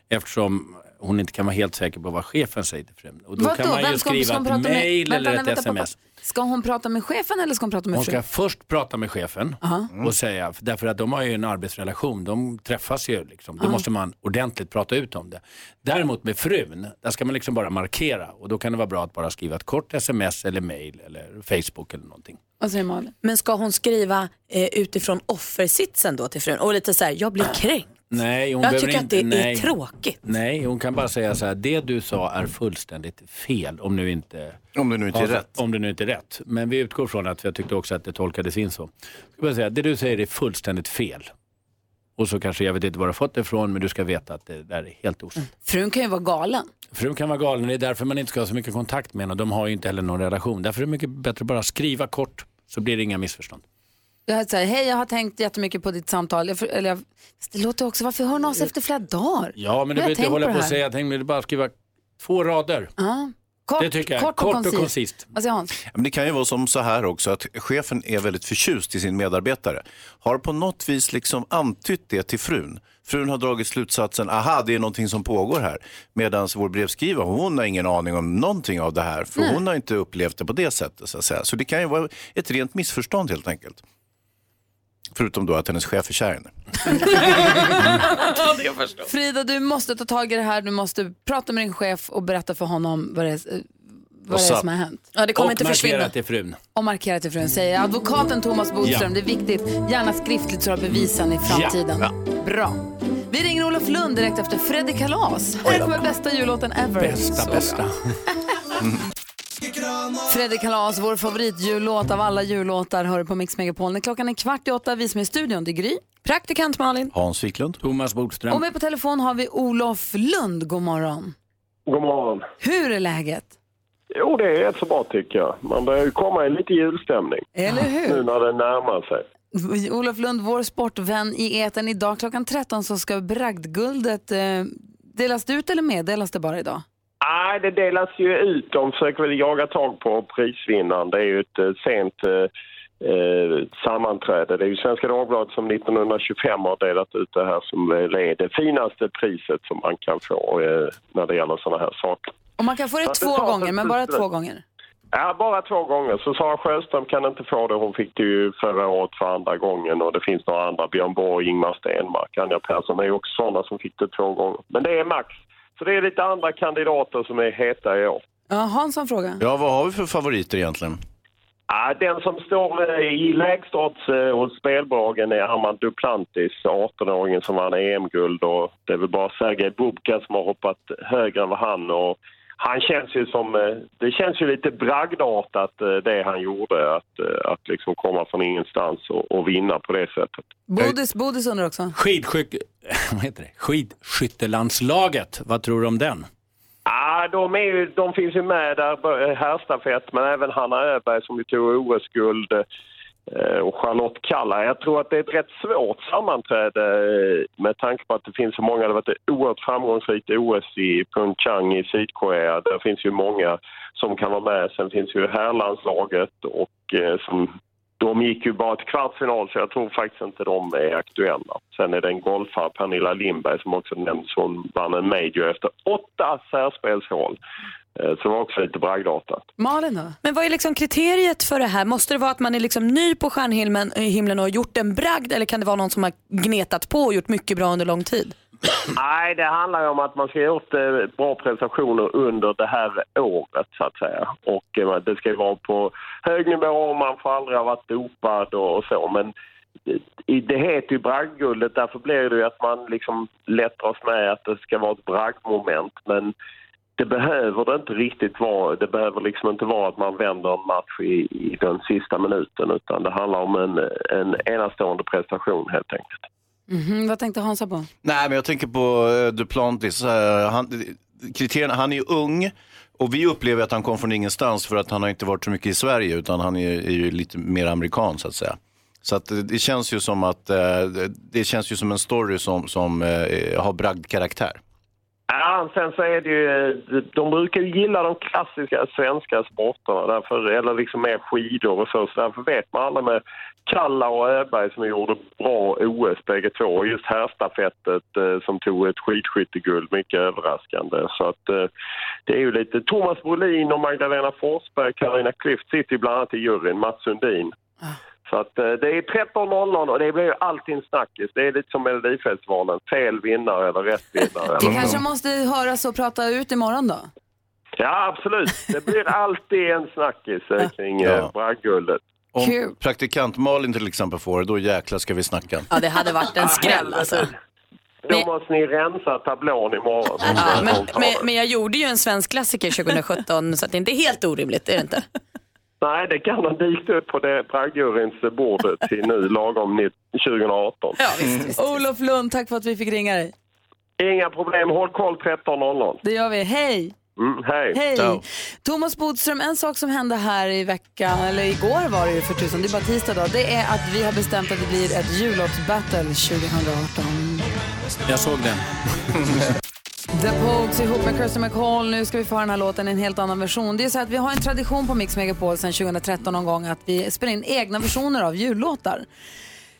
Q: Eftersom hon inte kan vara helt säker på vad chefen säger till frun. Och då
A: Vadå?
Q: kan man
A: Vem
Q: ju
A: ska hon-
Q: skriva
A: ska hon
Q: ett
A: prata med-
Q: mejl
A: Vänta,
Q: eller ett
A: vänta, pappa.
Q: sms.
A: Ska hon prata med chefen eller ska hon prata med
Q: Hon ska
A: frun?
Q: först prata med chefen
A: Aha.
Q: och säga, för- därför att de har ju en arbetsrelation, de träffas ju liksom. Då
A: Ja.
Q: måste man ordentligt prata ut om det. Däremot med frun, där ska man liksom bara markera och då kan det vara bra att bara skriva ett kort sms eller mail eller Facebook eller någonting.
A: Vad säger Malin?
D: Men ska hon skriva eh, utifrån offersitsen då till frun? Och lite så här, jag blir kränkt.
Q: Nej, hon
D: jag
Q: behöver
D: tycker
Q: inte,
D: att det
Q: nej.
D: är tråkigt.
Q: Nej, hon kan bara säga så här, det du sa är fullständigt fel om nu inte...
B: Om det nu inte är rätt.
Q: Om det nu inte är rätt. Men vi utgår från att, för jag tyckte också att det tolkades in så. Jag ska bara säga, det du säger är fullständigt fel. Och så kanske, jag vet inte var du har fått det ifrån, men du ska veta att det där är helt osant.
A: Mm. Frun kan ju vara galen.
Q: Frun kan vara galen, det är därför man inte ska ha så mycket kontakt med henne. De har ju inte heller någon relation. Därför är det mycket bättre att bara skriva kort, så blir det inga missförstånd.
A: Det här är så här, hej jag har tänkt jättemycket på ditt samtal. Jag, för- eller jag, Fast det låter också, varför hör hon av sig efter flera dagar?
Q: Ja, men
A: Jag
Q: du
A: har
Q: behöver
A: tänkt
Q: inte hålla
A: det
Q: på och
A: här.
Q: säga, jag tänkte bara skriva två rader.
A: Ja. Kort,
Q: Det tycker jag.
A: Kort och,
Q: Kort och
A: koncist.
Q: koncist.
A: Vad säger Hans?
B: Men det kan ju vara som så här också att chefen är väldigt förtjust i sin medarbetare. Har på något vis liksom antytt det till frun. Frun har dragit slutsatsen, aha det är någonting som pågår här. Medan vår brevskrivare, hon har ingen aning om någonting av det här. För
A: Nej.
B: hon har inte upplevt det på det sättet. Så, att säga. så det kan ju vara ett rent missförstånd helt enkelt. Förutom då att hennes chef är kär i henne.
A: Frida, du måste ta tag i det här. Du måste prata med din chef och berätta för honom vad det är, eh, vad det är
Q: Och sa-
A: som har hänt. Ja, det kommer
Q: och
A: inte
Q: markera
A: försvinna.
Q: att det är frun.
A: Och markera till frun. Säger advokaten Thomas Bodström,
Q: Ja.
A: det är viktigt. Gärna skriftligt så du har bevisen i framtiden.
Q: Ja.
A: Bra. Vi ringer Olof Lund direkt efter Fredrik Kalas. Här kommer bästa jullåten ever.
Q: Bästa, bästa.
A: Fredrik Kalas, vår favoritjullåt av alla jullåtar, hör du på Mix Megapol. När klockan är kvart i åtta, vi som är i studion, det är Gry. Praktikant Malin.
B: Hans Wiklund.
Q: Thomas Bodström.
A: Och med på telefon har vi Olof Lund, god morgon.
R: God morgon.
A: Hur är läget?
R: Jo, det är rätt så bra tycker jag. Man börjar ju komma i lite julstämning.
A: Eller hur?
R: Nu när det närmar sig.
A: Olof Lund, vår sportvän i eten Idag klockan 13 så ska Bragdguldet eh, delas det ut eller meddelas det bara idag?
R: Nej, det delas ju ut. De försöker väl jaga tag på prisvinnaren. Det är ju ett eh, sent eh, eh, sammanträde. Det är ju Svenska Dagbladet som 1925 har delat ut det här som väl är det finaste priset som man kan få eh, när det gäller sådana här saker.
A: Och man kan få det
R: Ja, det
A: två
R: tar
A: gånger, men bara
R: precis.
A: två gånger.
R: Ja, bara två gånger. Så Sara Sjöström kan inte få det. Hon fick det ju förra året för andra gången och det finns några andra. Björn Borg, Ingmar Stenmark, Anja Persson är ju också sådana som fick det två gånger. Men det är max. Så det är lite andra kandidater som är heta i år.
A: Ja, Hansson fråga.
B: Ja, vad har vi för favoriter egentligen?
R: Ja, den som står eh, i lägst odds eh, hos spelbolagen är Armand Duplantis, 18-åringen som vann EM-guld. Och det är väl bara Sergej Bubka som har hoppat högre än vad han. Och han känns ju som, eh, det känns ju lite bragdartat eh, det han gjorde, att, eh, att liksom komma från ingenstans och, och vinna på det sättet.
A: Bodis, Bodis undrar också.
Q: Skidskyck... Vad heter det? Skidskyttelandslaget, vad tror du om den?
R: Ja, de, är ju, de finns ju med där, eh, herrstafett, men även Hanna Öberg som ju tog OS-guld eh, och Charlotte Kalla. Jag tror att det är ett rätt svårt sammanträde eh, med tanke på att det finns så många. Det har varit ett oerhört framgångsrikt OS i Pyeongchang i Sydkorea. Där finns ju många som kan vara med. Sen finns ju herrlandslaget och eh, som de gick ju bara till kvartsfinal, så jag tror faktiskt inte de är aktuella. Sen är det en golfare, Pernilla Lindberg, som också nämns. Hon vann en major efter åtta särspelshål. Eh, Så det var också lite bragdartat.
A: Malin då?
D: Men vad är liksom kriteriet för det här? Måste det vara att man är liksom ny på stjärnhimlen eh, himlen och har gjort en bragd eller kan det vara någon som har gnetat på och gjort mycket bra under lång tid?
R: Nej, det handlar ju om att man ska ha gjort eh, bra prestationer under det här året, så att säga. Och eh, det ska ju vara på hög nivå och man får aldrig ha varit dopad och, och så. Men i- det heter ju bragdguldet, därför blir det ju att man liksom lätt dras med att det ska vara ett bragdmoment. Men det behöver det inte riktigt vara. Det behöver liksom inte vara att man vänder en match i, i den sista minuten, utan det handlar om en, en enastående prestation helt enkelt.
A: Mhm, vad tänkte Hansa på?
B: Nej, men jag tänker på eh, Duplantis. Eh, han, kriterierna, han är ju ung och vi upplever att han kom från ingenstans för att han har inte varit så mycket i Sverige utan han är, är ju lite mer amerikan så att säga. Så att eh, det känns ju som att eh, det- det känns ju som en story som, som eh, har bragdkaraktär.
R: Ja, sen så är det ju, de brukar ju gilla de klassiska svenska sporterna, därför, eller liksom mer skidor och så. Så därför vet man alla med Kalla och Öberg som gjorde bra OS bägge två. Och just herrstafettet eh, som tog ett skidskytteguld, mycket överraskande. Så att eh, det är ju lite Thomas Brolin och Magdalena Forsberg, Carina Klüft sitter ju bland annat i juryn, Mats Sundin. Så att eh, det är 13.00 och det blir ju alltid en snackis. Det är lite som Melodifestivalen, fel vinnare eller rätt vinnare.
A: Vi
R: Eller så.
A: kanske måste höras och prata ut imorgon då.
R: Ja, absolut. Det blir alltid en snackis eh, kring ja.
B: Ja.
R: bragdguldet.
B: Om praktikant Malin till exempel får det, då jäklar ska vi snacka.
D: Ja, det hade varit en skräll alltså.
R: Ah, Då måste ni rensa tablån imorgon.
D: Ja, Ah, men, men, men jag gjorde ju en svensk klassiker 2017 så att det inte är helt orimligt, är det inte?
R: Nej, det kan ha dykt upp på det bragdjuryns bord till nu lagom ni- 2018.
A: Olof Lund, tack för att vi fick ringa dig.
R: Inga problem, håll koll 13.00.
A: Det gör vi. Hej!
R: Mm, hej!
A: Hej! Thomas Bodström, en sak som hände här i veckan, eller igår var det ju för tusan, det är bara tisdag idag, det är att vi har bestämt att det blir ett jullåtsbattle 2018.
Q: Jag såg den.
A: The Pogues ihop med Kirsten McCall. Nu ska vi få höra den här låten i en helt annan version. Det är så att vi har en tradition på Mix Megapol sedan 2013 någon gång att vi spelar in egna versioner av jullåtar.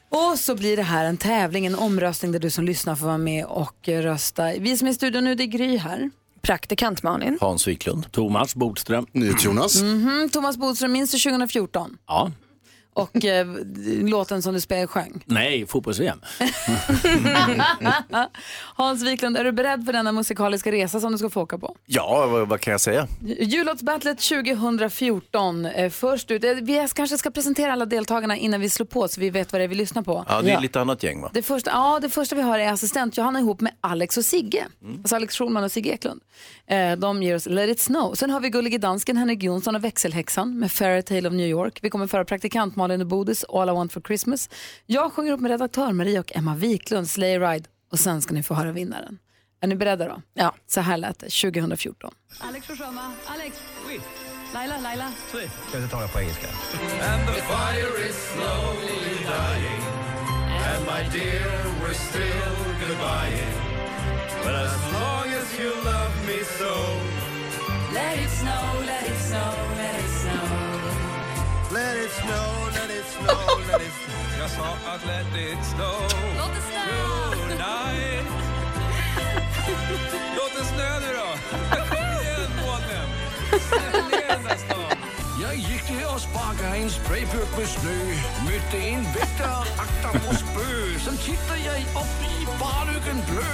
A: Och så blir det här en tävling, en omröstning där du som lyssnar får vara med och eh, rösta. Vi som är i studion nu, det är Gry här.
D: Praktikant Malin.
Q: Hans Wiklund. Thomas Bodström.
F: Jonas.
A: Mhm, Thomas Bodström, minns du 2014?
Q: Ja.
A: Och eh, d- låten som du spelade sjöng.
Q: Nej, fotbolls-VM.
A: Hans Wiklund, är du beredd för denna musikaliska resa som du ska få åka på?
B: Ja, vad, vad kan jag säga?
A: Jullåtsbattlet 2014. eh, Först ut, eh, vi kanske ska presentera alla deltagarna innan vi slår på så vi vet vad det är vi lyssnar på.
B: Ja, det är lite annat gäng va?
A: Det första, ja, det första vi har är assistent Johanna ihop med Alex och Sigge.
B: Mm.
A: Alltså Alex Schulman och Sigge Eklund. Eh, de ger oss Let it snow. Sen har vi Gullige Dansken, Henrik Jonsson och Växelhäxan med Fairytale of New York. Vi kommer föra praktikant Malin och Bodis All I want for Christmas. Jag sjunger upp med redaktör Maria och Emma Wiklund, Sleigh Ride. Och sen ska ni få höra vinnaren. Är ni beredda då? Ja. Så här lät det 2014.
C: Alex får sjunga. Alex! Laila, Laila.
S: Ska vi inte ta det på engelska?
C: And the fire is slowly dying And my dear, we're still goodbying But as long as you love me so Let it snow, let it snow, let it snow Let it snow, let it snow, let it snow Jag sa att let it snow Låt det snö! Tonight Låt det snö nu då! Kom igen, Månen! Snälla ner den där stan!
S: Jag gick till og sparkade en sprayburk med snø. Mødte en vægter agter vores bøg. Så titter jeg op i barlykken blø.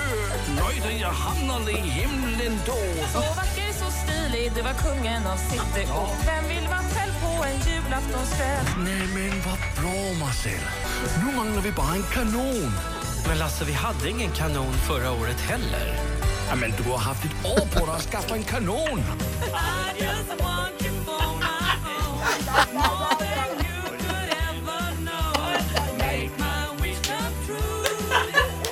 S: Nøjte jeg hamnerne i himlen då.
T: Så vacker, så stilig, du var kungen av city och vem vill vara själv på en julaftonskväll?
S: Nej, men vad bra Marcel. Nu mangler vi bara en kanon.
U: Men Lasse, vi hade ingen kanon förra året heller.
S: Ja, men du har haft ett år på dig att skaffa en kanon.
C: I just want you for my own. More than you could ever know. Make my wish come true.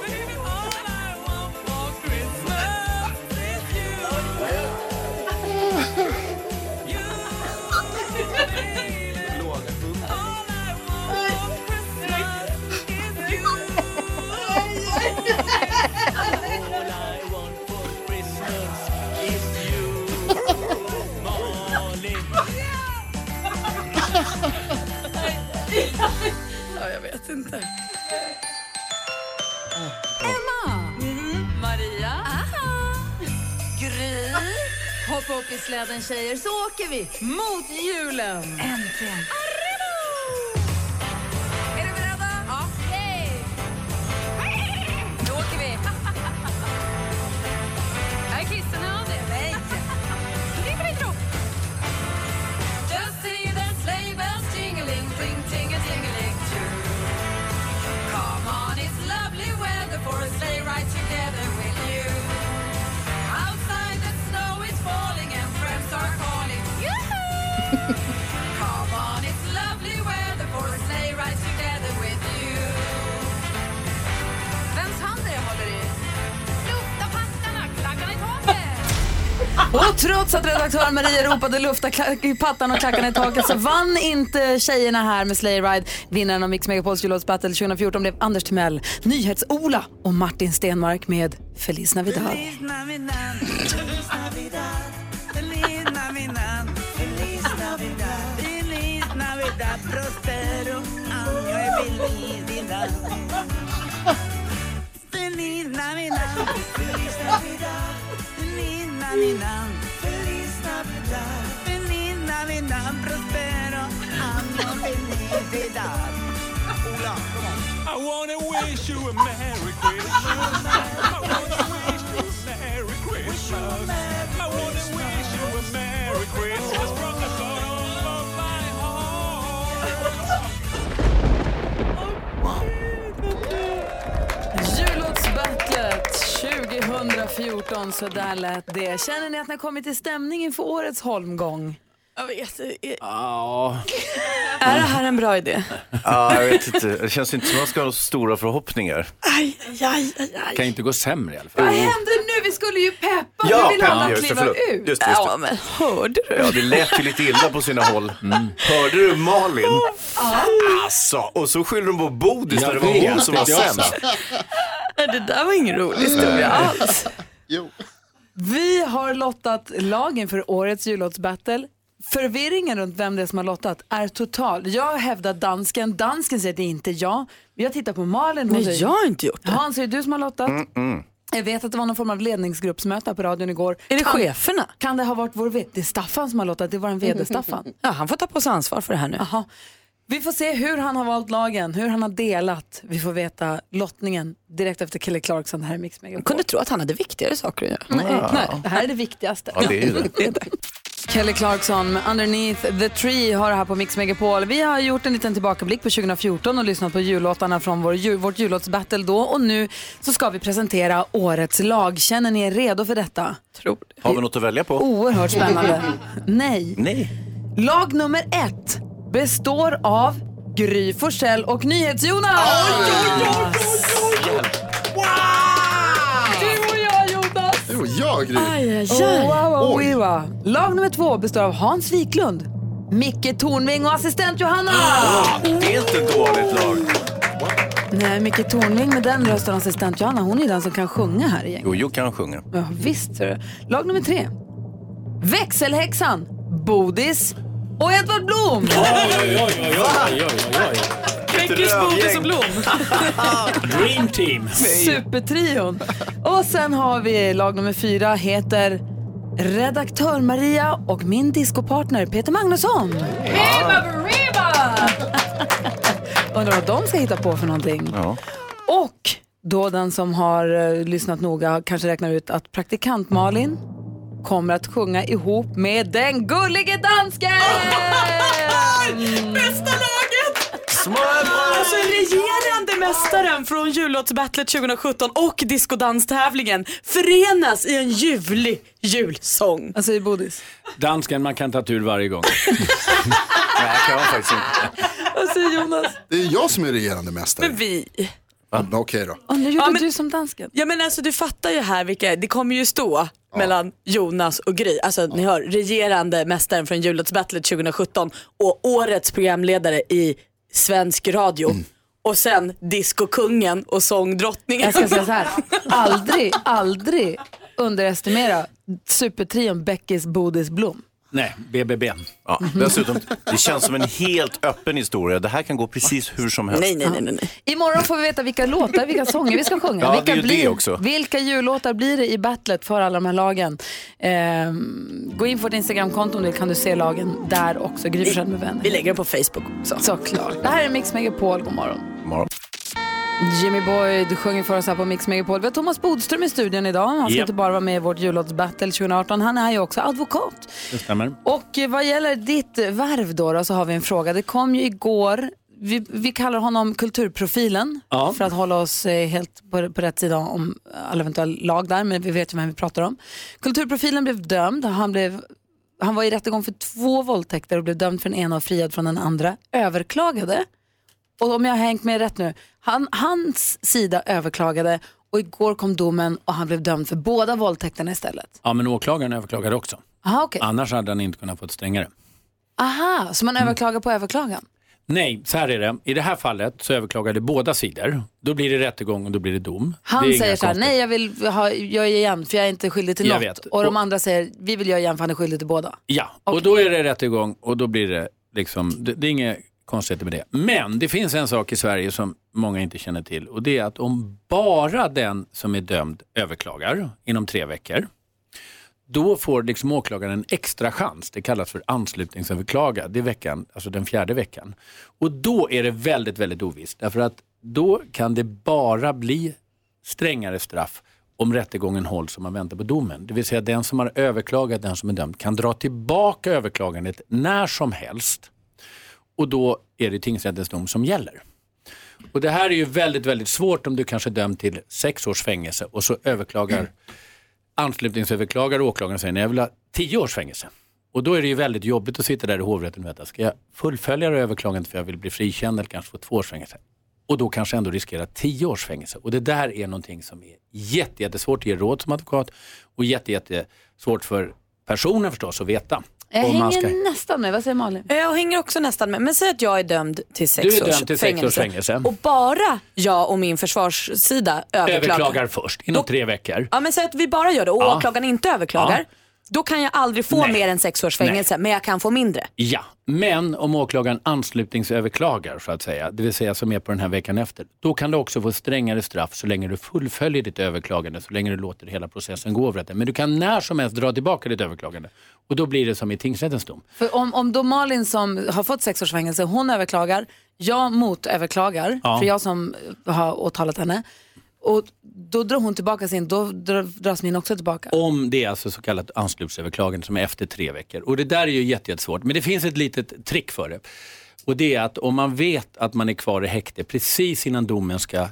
C: Baby, all I want for Christmas is you. You, baby. All I want for Christmas is you. All I want for Christmas is you.
D: Ja, jag vet inte.
A: Emma! Maria! Aha. Gry! Hoppa upp i släden tjejer så åker vi mot julen! Äntligen!
C: Är du beredda? Ja. Hej! Då åker vi. Är kissen av dig? Nej. Kliver i kropp. Just see the sleigh bells jingling, ting ting a jingling too. Come on, it's lovely weather for a sleigh ride together with you. Outside the snow is falling and friends are calling. Yoo-hoo! Come on, it's
A: Och trots att redaktör Maria ropade lufta klack- i pattan och klackarna i taket så vann inte tjejerna här med Slay Ride. Vinnaren av Mix Megapols jullåtsbattle 2014 blev Anders Timell, Nyhets-Ola och Martin Stenmark med Feliz Navidad.
S: I wanna wish you a Merry Christmas. I wanna wish you a Merry Christmas. I wanna wish you a Merry Christmas from the bottom of my heart.
A: Jullåtsbattlet 2014, så där lät det. Känner ni att ni har kommit i stämning inför årets holmgång?
D: Jag vet,
B: Ja,
D: Är det här en bra idé?
B: ja, jag vet inte. Det känns inte som att man ska ha stora förhoppningar.
D: Aj, aj, aj, aj, aj.
B: Kan inte gå sämre i alla
A: Vad hände nu? Vi skulle ju peppa.
B: Ja,
A: nu vill
B: peppa,
A: alla
B: just det,
A: kliva
B: förlåt.
A: ut.
B: Just det, just det.
A: Ja, men hörde du?
B: Ja, det lät ju lite illa på sina håll. Hörde du Malin? Alltså, och så skyller de på Bodis när det var hon som var sämst.
D: Det där var ingen rolig historia
A: Nej.
D: alls.
A: Vi har lottat lagen för årets jullåtsbattle. Förvirringen runt vem det är som har lottat är total. Jag hävdar dansken, dansken säger att det är inte jag. Jag tittar på Malin. hon
D: Nej,
A: säger-
D: jag har inte gjort det.
A: Hans, är det du som har lottat?
D: Mm,
C: Mm.
A: Jag vet att det var någon form av ledningsgruppsmöte på radion igår. Är
D: det cheferna?
A: Kan det ha varit vår vd? Det är Staffan som har lottat, det var en vd, Staffan.
D: Ja, han får ta på sig ansvar för det här nu.
A: Aha. Vi får se hur han har valt lagen, hur han har delat. Vi får veta lottningen direkt efter Kelly Clarkson här i Mix Megapol. Mm,
D: Kunde tro att han hade viktigare saker att göra.
A: Nej, nej, det här är det viktigaste.
D: Ah. Ja, det är ju det.
A: Kelly Clarkson med Underneath the Tree har det här på Mix Megapol. Vi har gjort en liten tillbakablick på 2014 och lyssnat på jullåtarna från vår, ju- vårt jullåtsbattle då. Och nu så ska vi presentera årets lag. Känner ni er redo för detta?
D: Tror
B: Har vi något att välja på?
A: Oerhört spännande. Nej.
B: Nej.
A: Lag nummer ett består av Gry Forssell och NyhetsJonas. Du och jag Jonas!
F: Det var jag Gry.
A: Oh, wow, wow,
F: Oj.
A: wiwa. Lag nummer två består av Hans Wiklund, Micke Tornving och assistent Johanna.
F: Ah!
B: Det är inte ett dåligt lag.
A: Nej, Micke Tornving med den rösten, assistent Johanna, hon är den som kan sjunga här igen.
B: Jojo kan sjunga.
A: Ja, visst. ser du. Lag nummer tre. Växelhäxan, Bodis och Edvard Blom.
B: Vilket rövgäng.
A: Dream team. Supertrion. Och sen har vi lag nummer fyra, heter redaktör Maria och min discopartner Peter Magnusson. Undrar vad de ska hitta på för någonting. Och då den som har eh, lyssnat noga kanske räknar ut att praktikant Malin kommer att sjunga ihop med den gullige dansken! Bästa laget!
D: Alltså regerande mästaren från jullåtsbattlet 2017 och diskodanstävlingen förenas i en ljuvlig julsång.
A: Alltså i bodis.
Q: Dansken, man kan ta tur varje gång.
B: Nej, kan jag faktiskt inte.
A: Vad säger Jonas?
V: Det är jag som är regerande mästare.
D: Men vi.
V: Ja, Okej då.
A: Och nu gjorde
D: Ja, men-
A: du som dansken.
D: Ja men alltså du fattar ju här vilka, det kommer ju stå mellan Jonas och Gry. Alltså ni hör, regerande mästaren från jullåtsbattlet 2017 och årets programledare i svensk radio. Och sen diskokungen och sångdrottningen.
A: Jag ska säga så här, aldrig, aldrig underestimera supertrion Beckis, Bodis, Blom.
B: Nej, BBB. Ja,
A: Mhm.
B: dessutom, det känns som en helt öppen historia. Det här kan gå precis hur som helst.
A: Nej, nej, nej, Imorgon får vi veta vilka låtar, vilka sånger vi ska sjunga.
B: Ja, det är
A: vilka,
B: ju det
A: blir,
B: också.
A: vilka jullåtar blir det i battlet för alla de här lagen? Ehm, gå in på vårt Instagramkonto om du vill, kan du se lagen där också. Gry Forssell med vänner. Vi
D: lägger den på Facebook också.
A: Såklart. Det här är Mix Megapol, god morgon.
B: Morgon.
A: Jimmy Boyd sjunger för oss här på Mix Megapol. Vi har Thomas Bodström i studion idag. Han ska
Q: Japp.
A: inte bara vara med i vårt jullåtsbattle 2018, han är ju också advokat.
Q: Det stämmer.
A: Och eh, vad gäller ditt värv då, då så har vi en fråga. Det kom ju igår, vi, vi kallar honom kulturprofilen
Q: Ja.
A: för att hålla oss eh, helt på, på rätt sida om alla eventuella lag där, men vi vet ju vem vi pratar om. Kulturprofilen blev dömd, han, blev, han var i rättegång för två våldtäkter och blev dömd för den ena och friad från den andra, överklagade. Och om jag har hängt med rätt nu, han, hans sida överklagade Och igår kom domen och han blev dömd för båda våldtäkterna istället.
Q: Ja, men åklagaren överklagade också.
A: Aha, okej.
Q: Annars hade han inte kunnat få ett strängare.
A: Aha, så man överklagar på överklagan?
Q: Nej, så här är det. I det här fallet så överklagade båda sidor. Då blir det rättegång och då blir det dom. Det är
A: Han
Q: inga
A: säger så här,
Q: konstigheter.
A: nej jag vill ha, jag gör igen för jag är inte skyldig till
Q: Jag
A: något.
Q: vet.
A: Och de
Q: Och-
A: andra säger, vi vill göra igen för han är skyldig till båda.
Q: Ja, och då är det rättegång och då blir det liksom, det, det är inga konstigheter med det. Men det finns en sak i Sverige som många inte känner till och det är att om bara den som är dömd överklagar inom tre veckor, då får liksom åklagaren en extra chans. Det kallas för anslutningsöverklaga. Det är veckan, alltså den fjärde veckan. Och då är det väldigt, väldigt ovisst. Därför att då kan det bara bli strängare straff om rättegången hålls och man väntar på domen. Det vill säga den som har överklagat, den som är dömd, kan dra tillbaka överklagandet när som helst. Och då är det tingsrättens dom som gäller. Och det här är ju väldigt, väldigt svårt om du kanske är dömd till sex års fängelse och så överklagar anslutningsöverklagare och åklagaren säger nej, jag vill ha tio års fängelse. Och då är det ju väldigt jobbigt att sitta där i hovrätten och veta, ska jag fullfölja det här överklagandet för jag vill bli frikänd eller kanske få två års fängelse? Och då kanske ändå riskera tio års fängelse. Och det där är någonting som är jätte, jättesvårt att ge råd som advokat och jätte, jättesvårt för personen förstås att veta.
A: Jag
Q: Om man
A: hänger
Q: ska-
A: nästan med, vad säger Malin?
D: Jag Eh, hänger också nästan med. Men säg att jag är dömd till sex,
Q: Du är
D: års,
Q: dömd till sex
D: fängelse.
Q: års fängelse.
D: Och bara jag och min försvarssida överklagar.
Q: Överklagar först, inom tre veckor.
D: Ja men säg att vi bara gör det och
Q: Ja.
D: åklagaren inte överklagar.
Q: Ja.
D: Då kan jag aldrig få
Q: Nej.
D: mer än sex års fängelse men jag kan få mindre.
Q: Ja, men om åklagaren anslutningsöverklagar, så att säga, det vill säga som är på den här veckan efter, då kan du också få strängare straff så länge du fullföljer ditt överklagande, så länge du låter hela processen gå över rätten. Men du kan när som helst dra tillbaka ditt överklagande och då blir det som i tingsrättens dom.
A: För om, om då Malin som har fått sex års fängelse, hon överklagar, jag motöverklagar,
Q: Ja.
A: för jag som har åtalat henne. Och då drar hon tillbaka sin, då dr- dras min också tillbaka.
Q: Om det är alltså så kallat anslutningsöverklagande som är efter tre veckor. Och det där är ju jätte- jättesvårt. Men det finns ett litet trick för det. Och det är att om man vet att man är kvar i häkte precis innan domen ska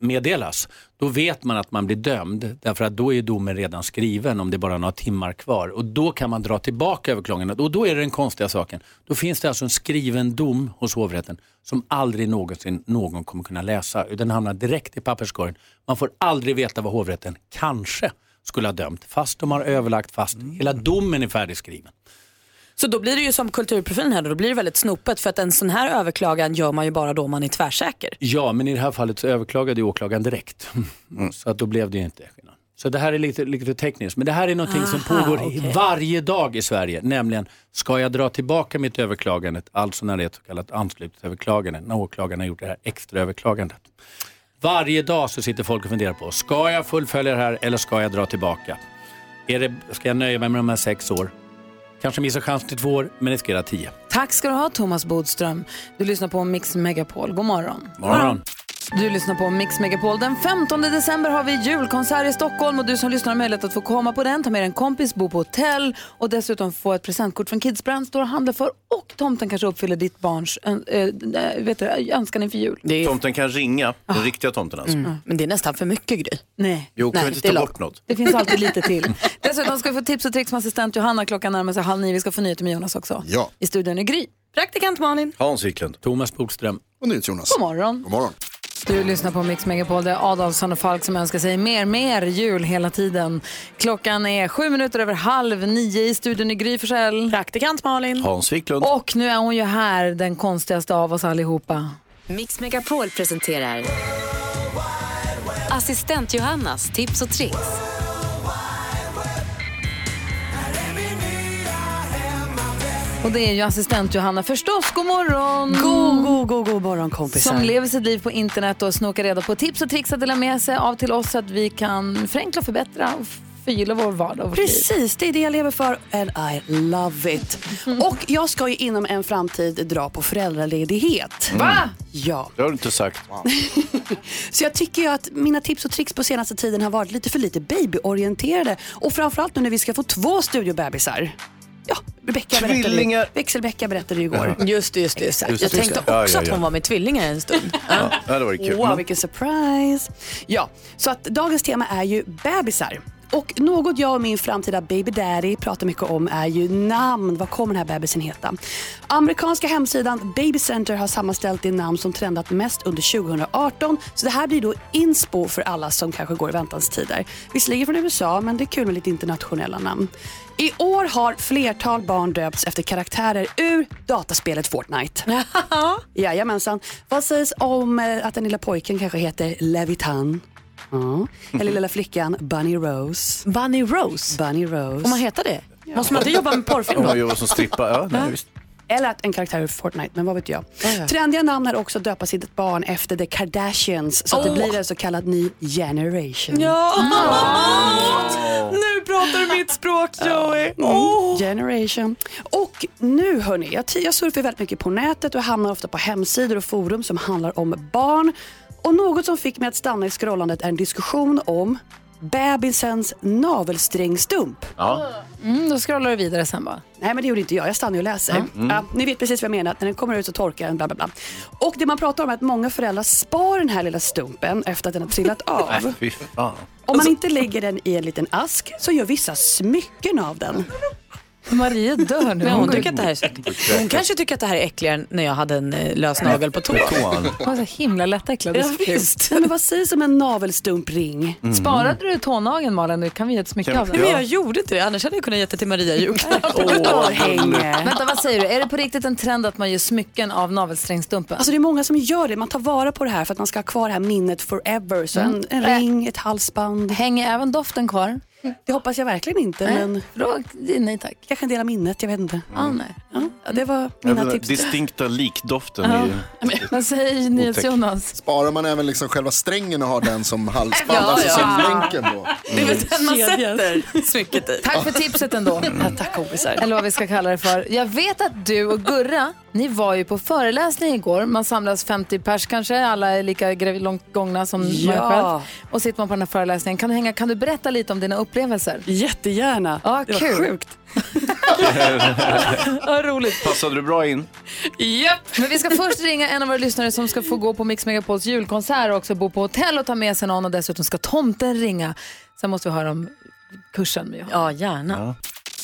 Q: meddelas, då vet man att man blir dömd. Därför att då är domen redan skriven om det är bara några timmar kvar. Och då kan man dra tillbaka överklagandet. Och då är det den konstiga saken. Då finns det alltså en skriven dom hos hovrätten som aldrig någonsin någon kommer kunna läsa. Den hamnar direkt i papperskorgen. Man får aldrig veta vad hovrätten kanske skulle ha dömt. Fast de har överlagt, fast hela domen är färdigskriven.
D: Så då blir det ju som kulturprofilen här, då blir det väldigt snopet för att en sån här överklagan gör man ju bara då man är tvärsäker.
Q: Ja, men i det här fallet så överklagade ju åklagaren direkt.
B: Mm.
Q: Så att då blev det ju inte skillnad. Så det här är lite, lite tekniskt, men det här är någonting som
B: Aha,
Q: pågår i-
B: okej.
Q: varje dag i Sverige. Nämligen, ska jag dra tillbaka mitt överklagande, alltså när det är ett så kallat anslutningsöverklagande, när åklagaren har gjort det här extra överklagandet. Varje dag så sitter folk och funderar på, ska jag fullfölja det här eller ska jag dra tillbaka? Är det, ska jag nöja mig med de här sex år? Kanske missar chansen till två år, men riskerar tio.
A: Tack ska du ha Thomas Bodström. Du lyssnar på Mix Megapol. God morgon.
Q: Morgon.
A: Du lyssnar på Mix Megapol. Den 15 december har vi julkonsert i Stockholm och du som lyssnar har möjlighet att få komma på den, ta med en kompis, bo på hotell och dessutom få ett presentkort från Kids Brand Store att handla för och tomten kanske uppfyller ditt barns ön- äh, vet du, det, önskan inför jul. Mm.
B: Tomten kan ringa, den riktiga tomten alltså.
D: mm. Men det är nästan för mycket grej.
A: Nej.
B: Jo, kan
A: Nej,
B: vi inte
A: det är
B: ta
A: lagom.
B: bort något?
A: Det finns alltid lite till. Dessutom ska vi få tips och tricks med assistent Johanna. Klockan närmar sig halv nio. Vi ska få nyheter med Jonas också.
B: Ja.
A: I studion är Gry. Praktikant Malin.
B: Hans Wiklund.
Q: Thomas Bodström.
V: Och nu Jonas.
A: God morgon.
V: God morgon.
A: Du lyssnar på Mix Megapol, det är Adolfsson och Falk som önskar sig mer, mer jul hela tiden. Klockan är sju minuter över halv nio i studion i Gry Forssell.
D: Praktikant Malin.
B: Hans Wiklund.
A: Och nu är hon ju här, den konstigaste av oss allihopa.
G: Mix Megapol presenterar Assistent Johannas tips och tricks.
A: Och det är ju assistent Johanna förstås. God morgon!
W: God, god, god, god morgon kompisar.
A: Som lever sitt liv på internet och snokar reda på tips och tricks att dela med sig av till oss så att vi kan förenkla och förbättra och förgylla vår vardag och vårt liv.
W: Precis, det är det jag lever för and I love it.
A: Mm.
W: Och jag ska ju inom en framtid dra på föräldraledighet.
B: Va?
W: Ja.
B: Mm. Det har du inte sagt.
W: Så jag tycker ju att mina tips och tricks på senaste tiden har varit lite för lite babyorienterade. Och framförallt nu när vi ska få två studiobebisar. Ja, Rebecka berättade ju,
D: Tvillingar.
W: Växelbecka berättade ju igår.
D: Just det, just det.
W: Exakt.
D: Just det.
W: Jag tänkte
D: Ja,
W: också
D: ja,
W: att
D: ja.
W: hon var med tvillingar en stund.
B: Ja, det var kul.
W: Wow,
B: Mm.
W: vilken surprise. Ja, så att dagens tema är ju bebisar. Och något jag och min framtida baby daddy pratar mycket om är ju namn. Vad kommer den här bebisen heta? Amerikanska hemsidan Baby Center har sammanställt det namn som trendat mest under 2018. Så det här blir då inspo för alla som kanske går i väntans tider. Visserligen från USA, men det är kul med lite internationella namn. I år har flertal barn döpts efter karaktärer ur dataspelet Fortnite. Jajamensan. Vad sägs om eh, att den lilla pojken kanske heter Levitan? Ja. Eller lilla flickan Bunny Rose.
A: Mhm. Bunny Rose?
W: Bunny Rose.
A: Får man heta det?
W: Måste man inte jobba med porrfilm
B: Om
W: då?
B: man jobbar som strippa, ja, nej, visst.
W: Eller att en karaktär ur Fortnite, men vad vet jag. Trendiga namn är också att döpa sitt barn efter The Kardashians så att det
A: Åh.
W: blir en så kallad ny generation.
A: Ja!
W: Nu pratar du mitt språk Joey. Mm. Generation. Och nu hörni, jag, ti- jag surfar väldigt mycket på nätet och hamnar ofta på hemsidor och forum som handlar om barn. Och något som fick mig att stanna i scrollandet är en diskussion om bebisens navelsträngstump.
A: Mm, då scrollar du vidare sen bara.
W: Nej, men det gjorde inte jag. Jag stannade ju och läser.
A: Mm.
W: Ja, ni vet precis vad jag menar. Att När den kommer ut så torkar den, bla bla bla. Och det man pratar om är att många föräldrar spar den här lilla stumpen efter att den har trillat av.
B: Nej, fy fan.
W: Om man inte lägger den i en liten ask så gör vissa smycken av den.
A: Maria dör nu.
D: Men hon, tycker att det här är så... hon kanske tycker att det här är äckligare än när jag hade en eh, lös nagel på tån.
A: Hon var så himla lättäcklad.
D: Ja,
W: Nej, men vad sägs om en navelstumpring?
D: Mm.
A: Sparade du tånageln Malin? Nu kan vi ge ett smycke
D: Ja.
A: av den.
D: Men jag gjorde inte det, annars hade jag kunnat ge det till Maria i julklapp.
A: Vänta, vad säger du? Är det på riktigt en trend att man gör smycken av navelsträngstumpen?
W: Alltså det är många som gör det. Man tar vara på det här för att man ska ha kvar det här minnet forever. Så en, en
A: Mm.
W: ring, ett halsband.
A: Hänger även doften kvar?
W: Det hoppas jag verkligen inte.
A: Nej.
W: Men...
A: nej tack.
W: Kanske en del av minnet, jag vet inte.
A: Ah, nej.
W: Ja, det var
B: Jag
W: mina
F: Alltså,
B: menar,
W: tips.
B: Distinkta likdoften.
A: Ja.
B: är ju-
A: Vad säger NyhetsJonas?
F: Sparar man även liksom själva strängen och har den som halsband,
A: Ja,
F: alltså
A: ja.
F: som länken på?
D: Det är väl den man
A: Kedjan.
D: sätter smycket i.
A: Alltså, Tack för tipset ändå.
W: tack kompisar.
A: Eller vad vi ska kalla det för. Jag vet att du och Gurra, ni var ju på föreläsning igår. Man samlas 50 pers kanske, alla är lika grev- långt gångna som
W: Ja.
A: man själv. Och sitter man på den här föreläsningen. Kan du, hänga, kan du berätta lite om dina upplevelser?
W: Jättegärna.
A: Ja,
W: Det var
A: kul.
W: sjukt.
A: Vad roligt.
B: Passade du bra in?
A: Japp. Men vi ska först ringa en av våra lyssnare som ska få gå på Mix Megapols julkonsert och också bo på hotell och ta med sig någon och dessutom ska tomten ringa. Sen måste vi höra om kursen med
D: Ja, gärna.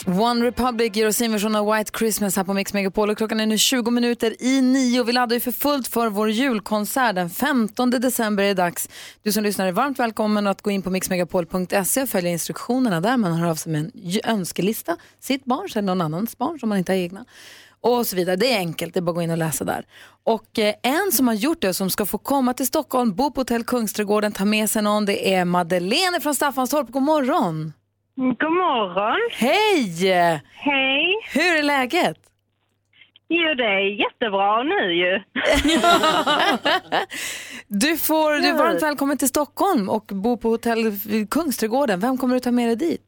A: One Republic gör sin version av White Christmas här på Mix Megapol och klockan är nu 20 minuter i nio. Vi laddar ju för fullt för vår julkonsert den 15 december är det dags. Du som lyssnar är varmt välkommen att gå in på mixmegapol.se och följa instruktionerna där. Man hör av sig med en j- önskelista, sitt barns eller någon annans barn som man inte har egna och så vidare. Det är enkelt, det är bara att gå in och läsa där. Och eh, en som har gjort det, som ska få komma till Stockholm, bo på hotell Kungsträdgården, ta med sig någon, det är Madeleine från Staffanstorp. God morgon!
C: God morgon.
A: Hej!
C: Hej!
A: Hur är läget?
C: Jo, det är jättebra nu ju.
A: Du, får, du är varmt välkommen till Stockholm och bo på hotell Kungsträdgården. Vem kommer du ta med dig dit?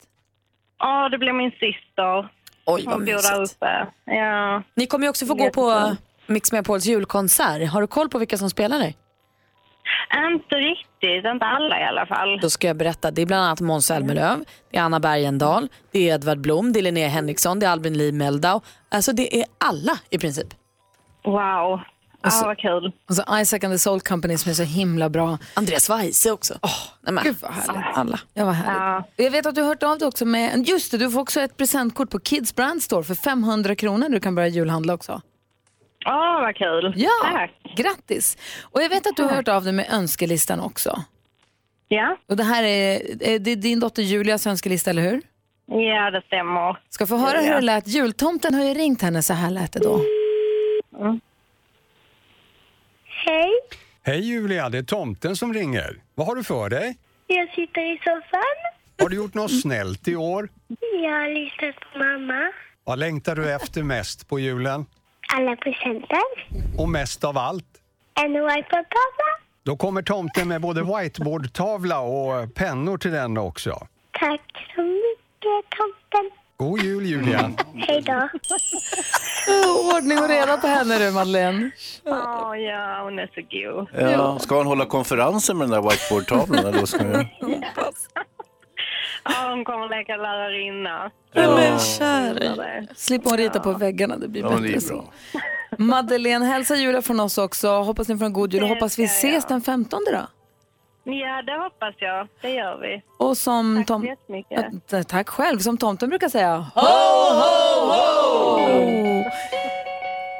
C: Ja, det blir min syster.
D: Oj, vad
C: Hon bor där
D: mysigt.
C: uppe. Ja.
D: Ni kommer ju också få gå på Mix Megapols julkonsert. Har du koll på vilka som spelar där?
C: Inte riktigt, inte alla i alla fall.
D: Då ska jag berätta. Det är bland annat Måns Zelmerlöw, det är Anna Bergendahl, det är Edvard Blom, det är Linnea Henriksson, det är Albin Lee Meldau. Alltså det är alla i princip.
C: Wow.
A: Och så-
C: ah, vad kul.
A: Alltså- Och så Isaac and the Soul Company som är så himla bra.
D: Andreas Weise också.
A: Oh, Gud vad härligt.
D: Alla.
A: Ja, vad härligt. Jag vet att du har hört av dig också med, just det, du får också ett presentkort på Kids Brand Store för 500 kronor. Du kan börja julhandla också.
C: Ja, vad kul.
A: Ja, grattis. Och jag vet att du har hört av dig med önskelistan också.
C: Ja.
A: Och det här är, är det är din dotter Julias önskelista, eller hur?
C: Ja, det stämmer.
A: Ska få höra hur det lät. Jultomten har ju ringt henne, så här lät det då.
X: Hej,
Y: Hej Julia, det är tomten som ringer. Vad har du för dig?
X: jag sitter i soffan.
Y: Har du gjort något snällt i år?
X: Jag har lyssnat på mamma.
Y: Vad längtar du efter mest på julen?
X: Alla presenter.
Y: Och mest av allt?
X: En wipe-tavla.
Y: Då kommer tomten med både whiteboardtavla och pennor till den också.
X: Tack så mycket, tomten.
Y: God jul Julia!
X: Hej då.
A: Ordning och reda på henne du, Madeleine.
C: Ja, ja, hon är så god.
B: Ja. Ska han hålla konferenser med den där whiteboardtavlan? eller vad ska han göra?
C: Ja, hon kommer leka lärarinna.
B: Ja.
A: Men Slipper hon rita på väggarna, det blir
B: Ja, men
A: bättre
B: det är
A: så.
B: bra.
A: Madeleine, hälsa Julia från oss också. Hoppas ni får en god jul och hoppas vi ses den 15 då.
H: Ja, det hoppas jag. Det gör vi.
A: Och som Tack tom...
H: jättemycket.
A: Att- Tack själv, som tomten brukar säga.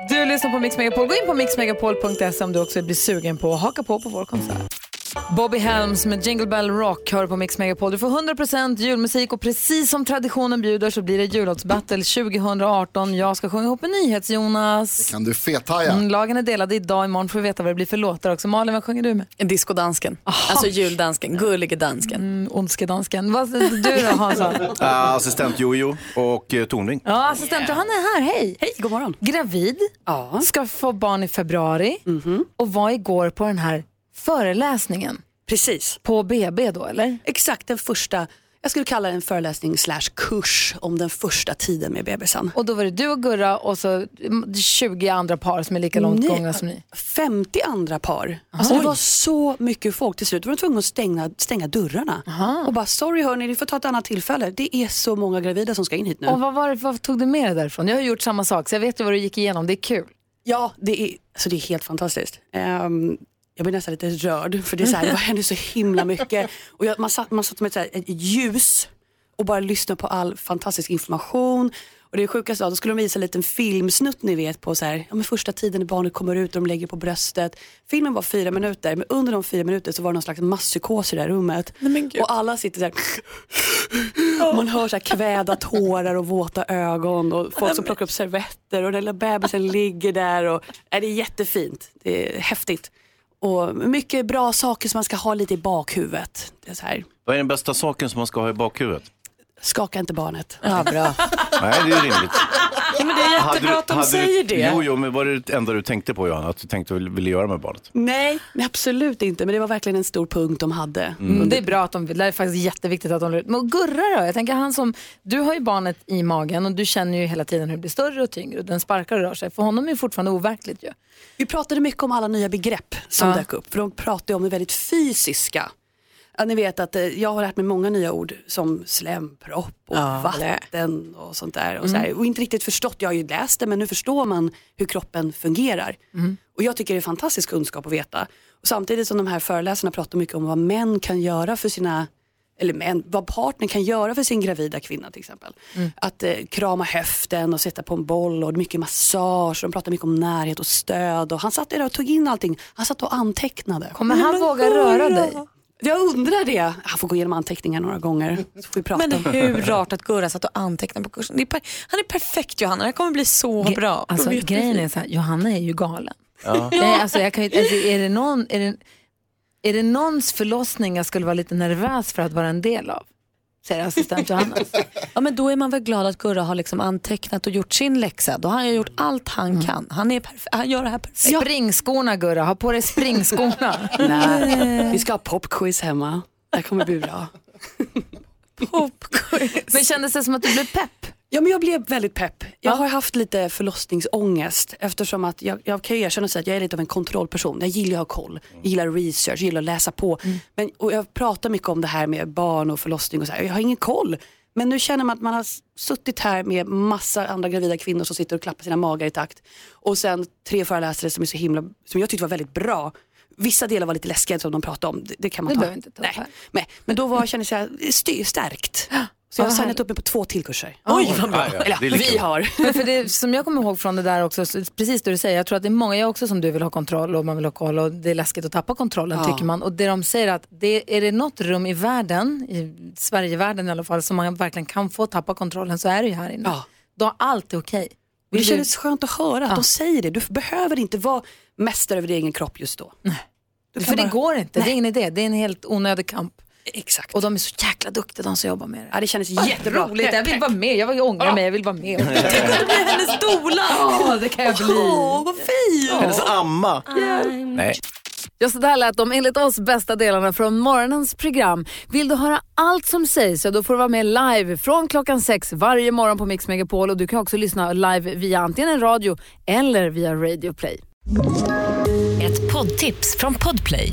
A: Du lyssnar på Mix Megapol. Gå in på mixmegapol.se om du också blir sugen på att haka på på vår konsert. Bobby Helms med Jingle Bell Rock hör på Mix Megapol. Du får 100% julmusik och precis som traditionen bjuder så blir det jullåtsbattle 2018. Jag ska sjunga ihop en nyhets, Jonas.
V: Kan du fethaja?
A: Mm, lagen är delade idag. Imorgon får vi veta vad det blir för låtar också. Malin, vad sjunger du med?
D: Diskodansken. Alltså juldansken, gullige dansken.
A: Mm, Ondskedansken. Vad du då Hansson?
B: Ah, assistent Jojo och eh, Tornving.
A: Ja, assistent han är här. Hej! Hej, god morgon. Gravid, ska få barn i februari och var igår på den här föreläsningen.
W: Precis.
A: På BB då eller?
W: Exakt den första, jag skulle kalla det en föreläsning slash kurs om den första tiden med bebisen.
A: Och då var det du och Gurra och så 20 andra par som är lika långt
W: Nej,
A: gångna som ni.
W: 50 andra par. Alltså det var så mycket folk till slut. var de tvungna att stänga, stänga dörrarna. Och bara, sorry hörni, ni får ta ett annat tillfälle. Det är så många gravida som ska in hit nu.
A: Och vad, var, det- vad tog du med dig därifrån? Jag har gjort samma sak så jag vet ju vad du gick igenom, det är kul.
W: Ja, det är, alltså det är helt fantastiskt. Ehm, jag blir nästan lite rörd för det, är så här, det hände så himla mycket. Och jag, man, satt, man satt med ett, så här, ett ljus och bara lyssnade på all fantastisk information. Och det sjukaste var då skulle de visa en liten filmsnutt ni vet på så här, ja, men första tiden när barnet kommer ut och de lägger på bröstet. Filmen var fyra minuter men under de fyra minuter så var det någon slags masspsykos i det här rummet. och alla sitter så här och Man hör så här kväda tårar och våta ögon och folk som plockar upp servetter och den lilla bebisen ligger där. Och, är det är jättefint. Det är häftigt. Och mycket bra saker som man ska ha lite i bakhuvudet. Det är så här,
B: Vad är den bästa saken som man ska ha i bakhuvudet?
W: skaka inte barnet.
A: Ja, bra.
B: Nej, det är rimligt.
D: Ja, men det är
B: Hade
D: jättebra
B: du-
D: att de
B: hade du-
D: säger det.
B: Jo, jo, men var det det enda du tänkte på Johanna? Att du tänkte vill- ville göra med barnet?
W: Nej, nej, absolut inte. Men det var verkligen en stor punkt de hade.
A: Mm. Det är bra att de vill, det är faktiskt jätteviktigt att de vill. Men Gurra då? Jag tänker han som, du har ju barnet i magen och du känner ju hela tiden hur det blir större och tyngre och den sparkar och rör sig. För honom är det fortfarande overkligt ju.
W: Vi pratade mycket om alla nya begrepp som
A: Ja.
W: dök upp. För de pratade ju om det väldigt fysiska. Ja, ni vet att eh, jag har lärt mig många nya ord som slempropp och
D: Ja.
W: vatten och sånt där. Och,
D: Mm.
W: så här. och inte riktigt förstått, jag har ju läst det men nu förstår man hur kroppen fungerar.
M: Mm.
W: Och jag tycker det är fantastisk kunskap att veta. Och samtidigt som de här föreläsarna pratar mycket om vad män kan göra för sina eller män, vad partnern kan göra för sin gravida kvinna till exempel.
D: Mm.
W: Att eh, krama höften och sätta på en boll och mycket massage. De pratar mycket om närhet och stöd. Och han satt där och tog in allting. Han satt och antecknade.
A: Kommer han våga röra dig?
W: Jag undrar det. Han får gå igenom anteckningar några gånger. Så får vi prata.
D: Men hur rart att Gurra satt och antecknade på kursen. Det är per- han är perfekt Johanna, det här kommer bli så bra.
A: Alltså
D: Vet du?
A: grejen är så här, Johanna är ju galen.
D: Ja.
A: Nej, alltså, jag kan ju, alltså, är, det någon, är, det, är det någons förlossning jag skulle vara lite nervös för att vara en del av? Säger assistent Johanna.
D: Ja, men då är man väl glad att Gurra har liksom antecknat och gjort sin läxa. Då har han ju gjort allt han kan. Han, är perf- han gör det här perfekt.
A: Springskorna Gurra, ha på dig springskorna.
W: Nej,
A: Eh.
W: vi ska ha popquiz hemma. Det här kommer bli bra.
A: Men kändes det som att du blev pepp?
W: Ja, men jag blev väldigt pepp. Jag har haft lite förlossningsångest eftersom att jag, jag kan ju erkänna och säga att jag är lite av en kontrollperson. Jag gillar att ha koll, jag gillar research, jag gillar att läsa på.
A: Mm.
W: Men, och jag pratar mycket om det här med barn och förlossning och så här. Jag har ingen koll. Men nu känner man att man har s- suttit här med massa andra gravida kvinnor som sitter och klappar sina magar i takt. Och sen tre föreläsare som är så himla, som jag tyckte var väldigt bra. Vissa delar var lite läskiga som de pratade om. Det, det kan man
A: Det
W: ta.
A: behöver vi inte ta upp här.
W: Nej. Nej. Men då var, kändes jag sty- stärkt. Så jag har
A: Vad
W: signat upp mig på två till kurser.
A: Oj,
W: vad
B: bra. Ja, ja,
W: Eller,
B: det är lika
W: vi
B: bra.
W: har.
A: Men för det som jag kommer ihåg från det där också, så- precis det du säger, jag tror att det är många jag också som du vill ha kontroll och man vill ha koll och det är läskigt att tappa kontrollen
W: Ja.
A: tycker man. Och det de säger att det, är det något rum i världen, i Sverigevärlden i alla fall, som man verkligen kan få tappa kontrollen så är det ju här inne.
W: Ja.
A: Då är allt okej.
W: Det
A: Vill du-
W: kändes skönt att höra att de säger det. Du behöver inte vara mästare över din egen kropp just då.
A: För det går inte, det är ingen idé. Det är en helt onödig kamp.
W: Exakt.
A: Och de är så jäkla duktiga de som jobbar med det.
W: Ja, det kändes
A: Ah,
W: jättebra.
A: Roligt, jag vill vara med. Jag ångrar mig, jag vill vara med.
D: blir hennes dola.
A: Ja, det kan jag bli.
D: Åh, vad fint.
B: Hennes amma. Nej.
A: Ja, så där lät de enligt oss bästa delarna från morgonens program. Vill du höra allt som sägs så då får du vara med live från klockan sex varje morgon på Mix Megapol och du kan också lyssna live via antingen en radio eller via Radio Play.
G: Ett poddtips från Podplay.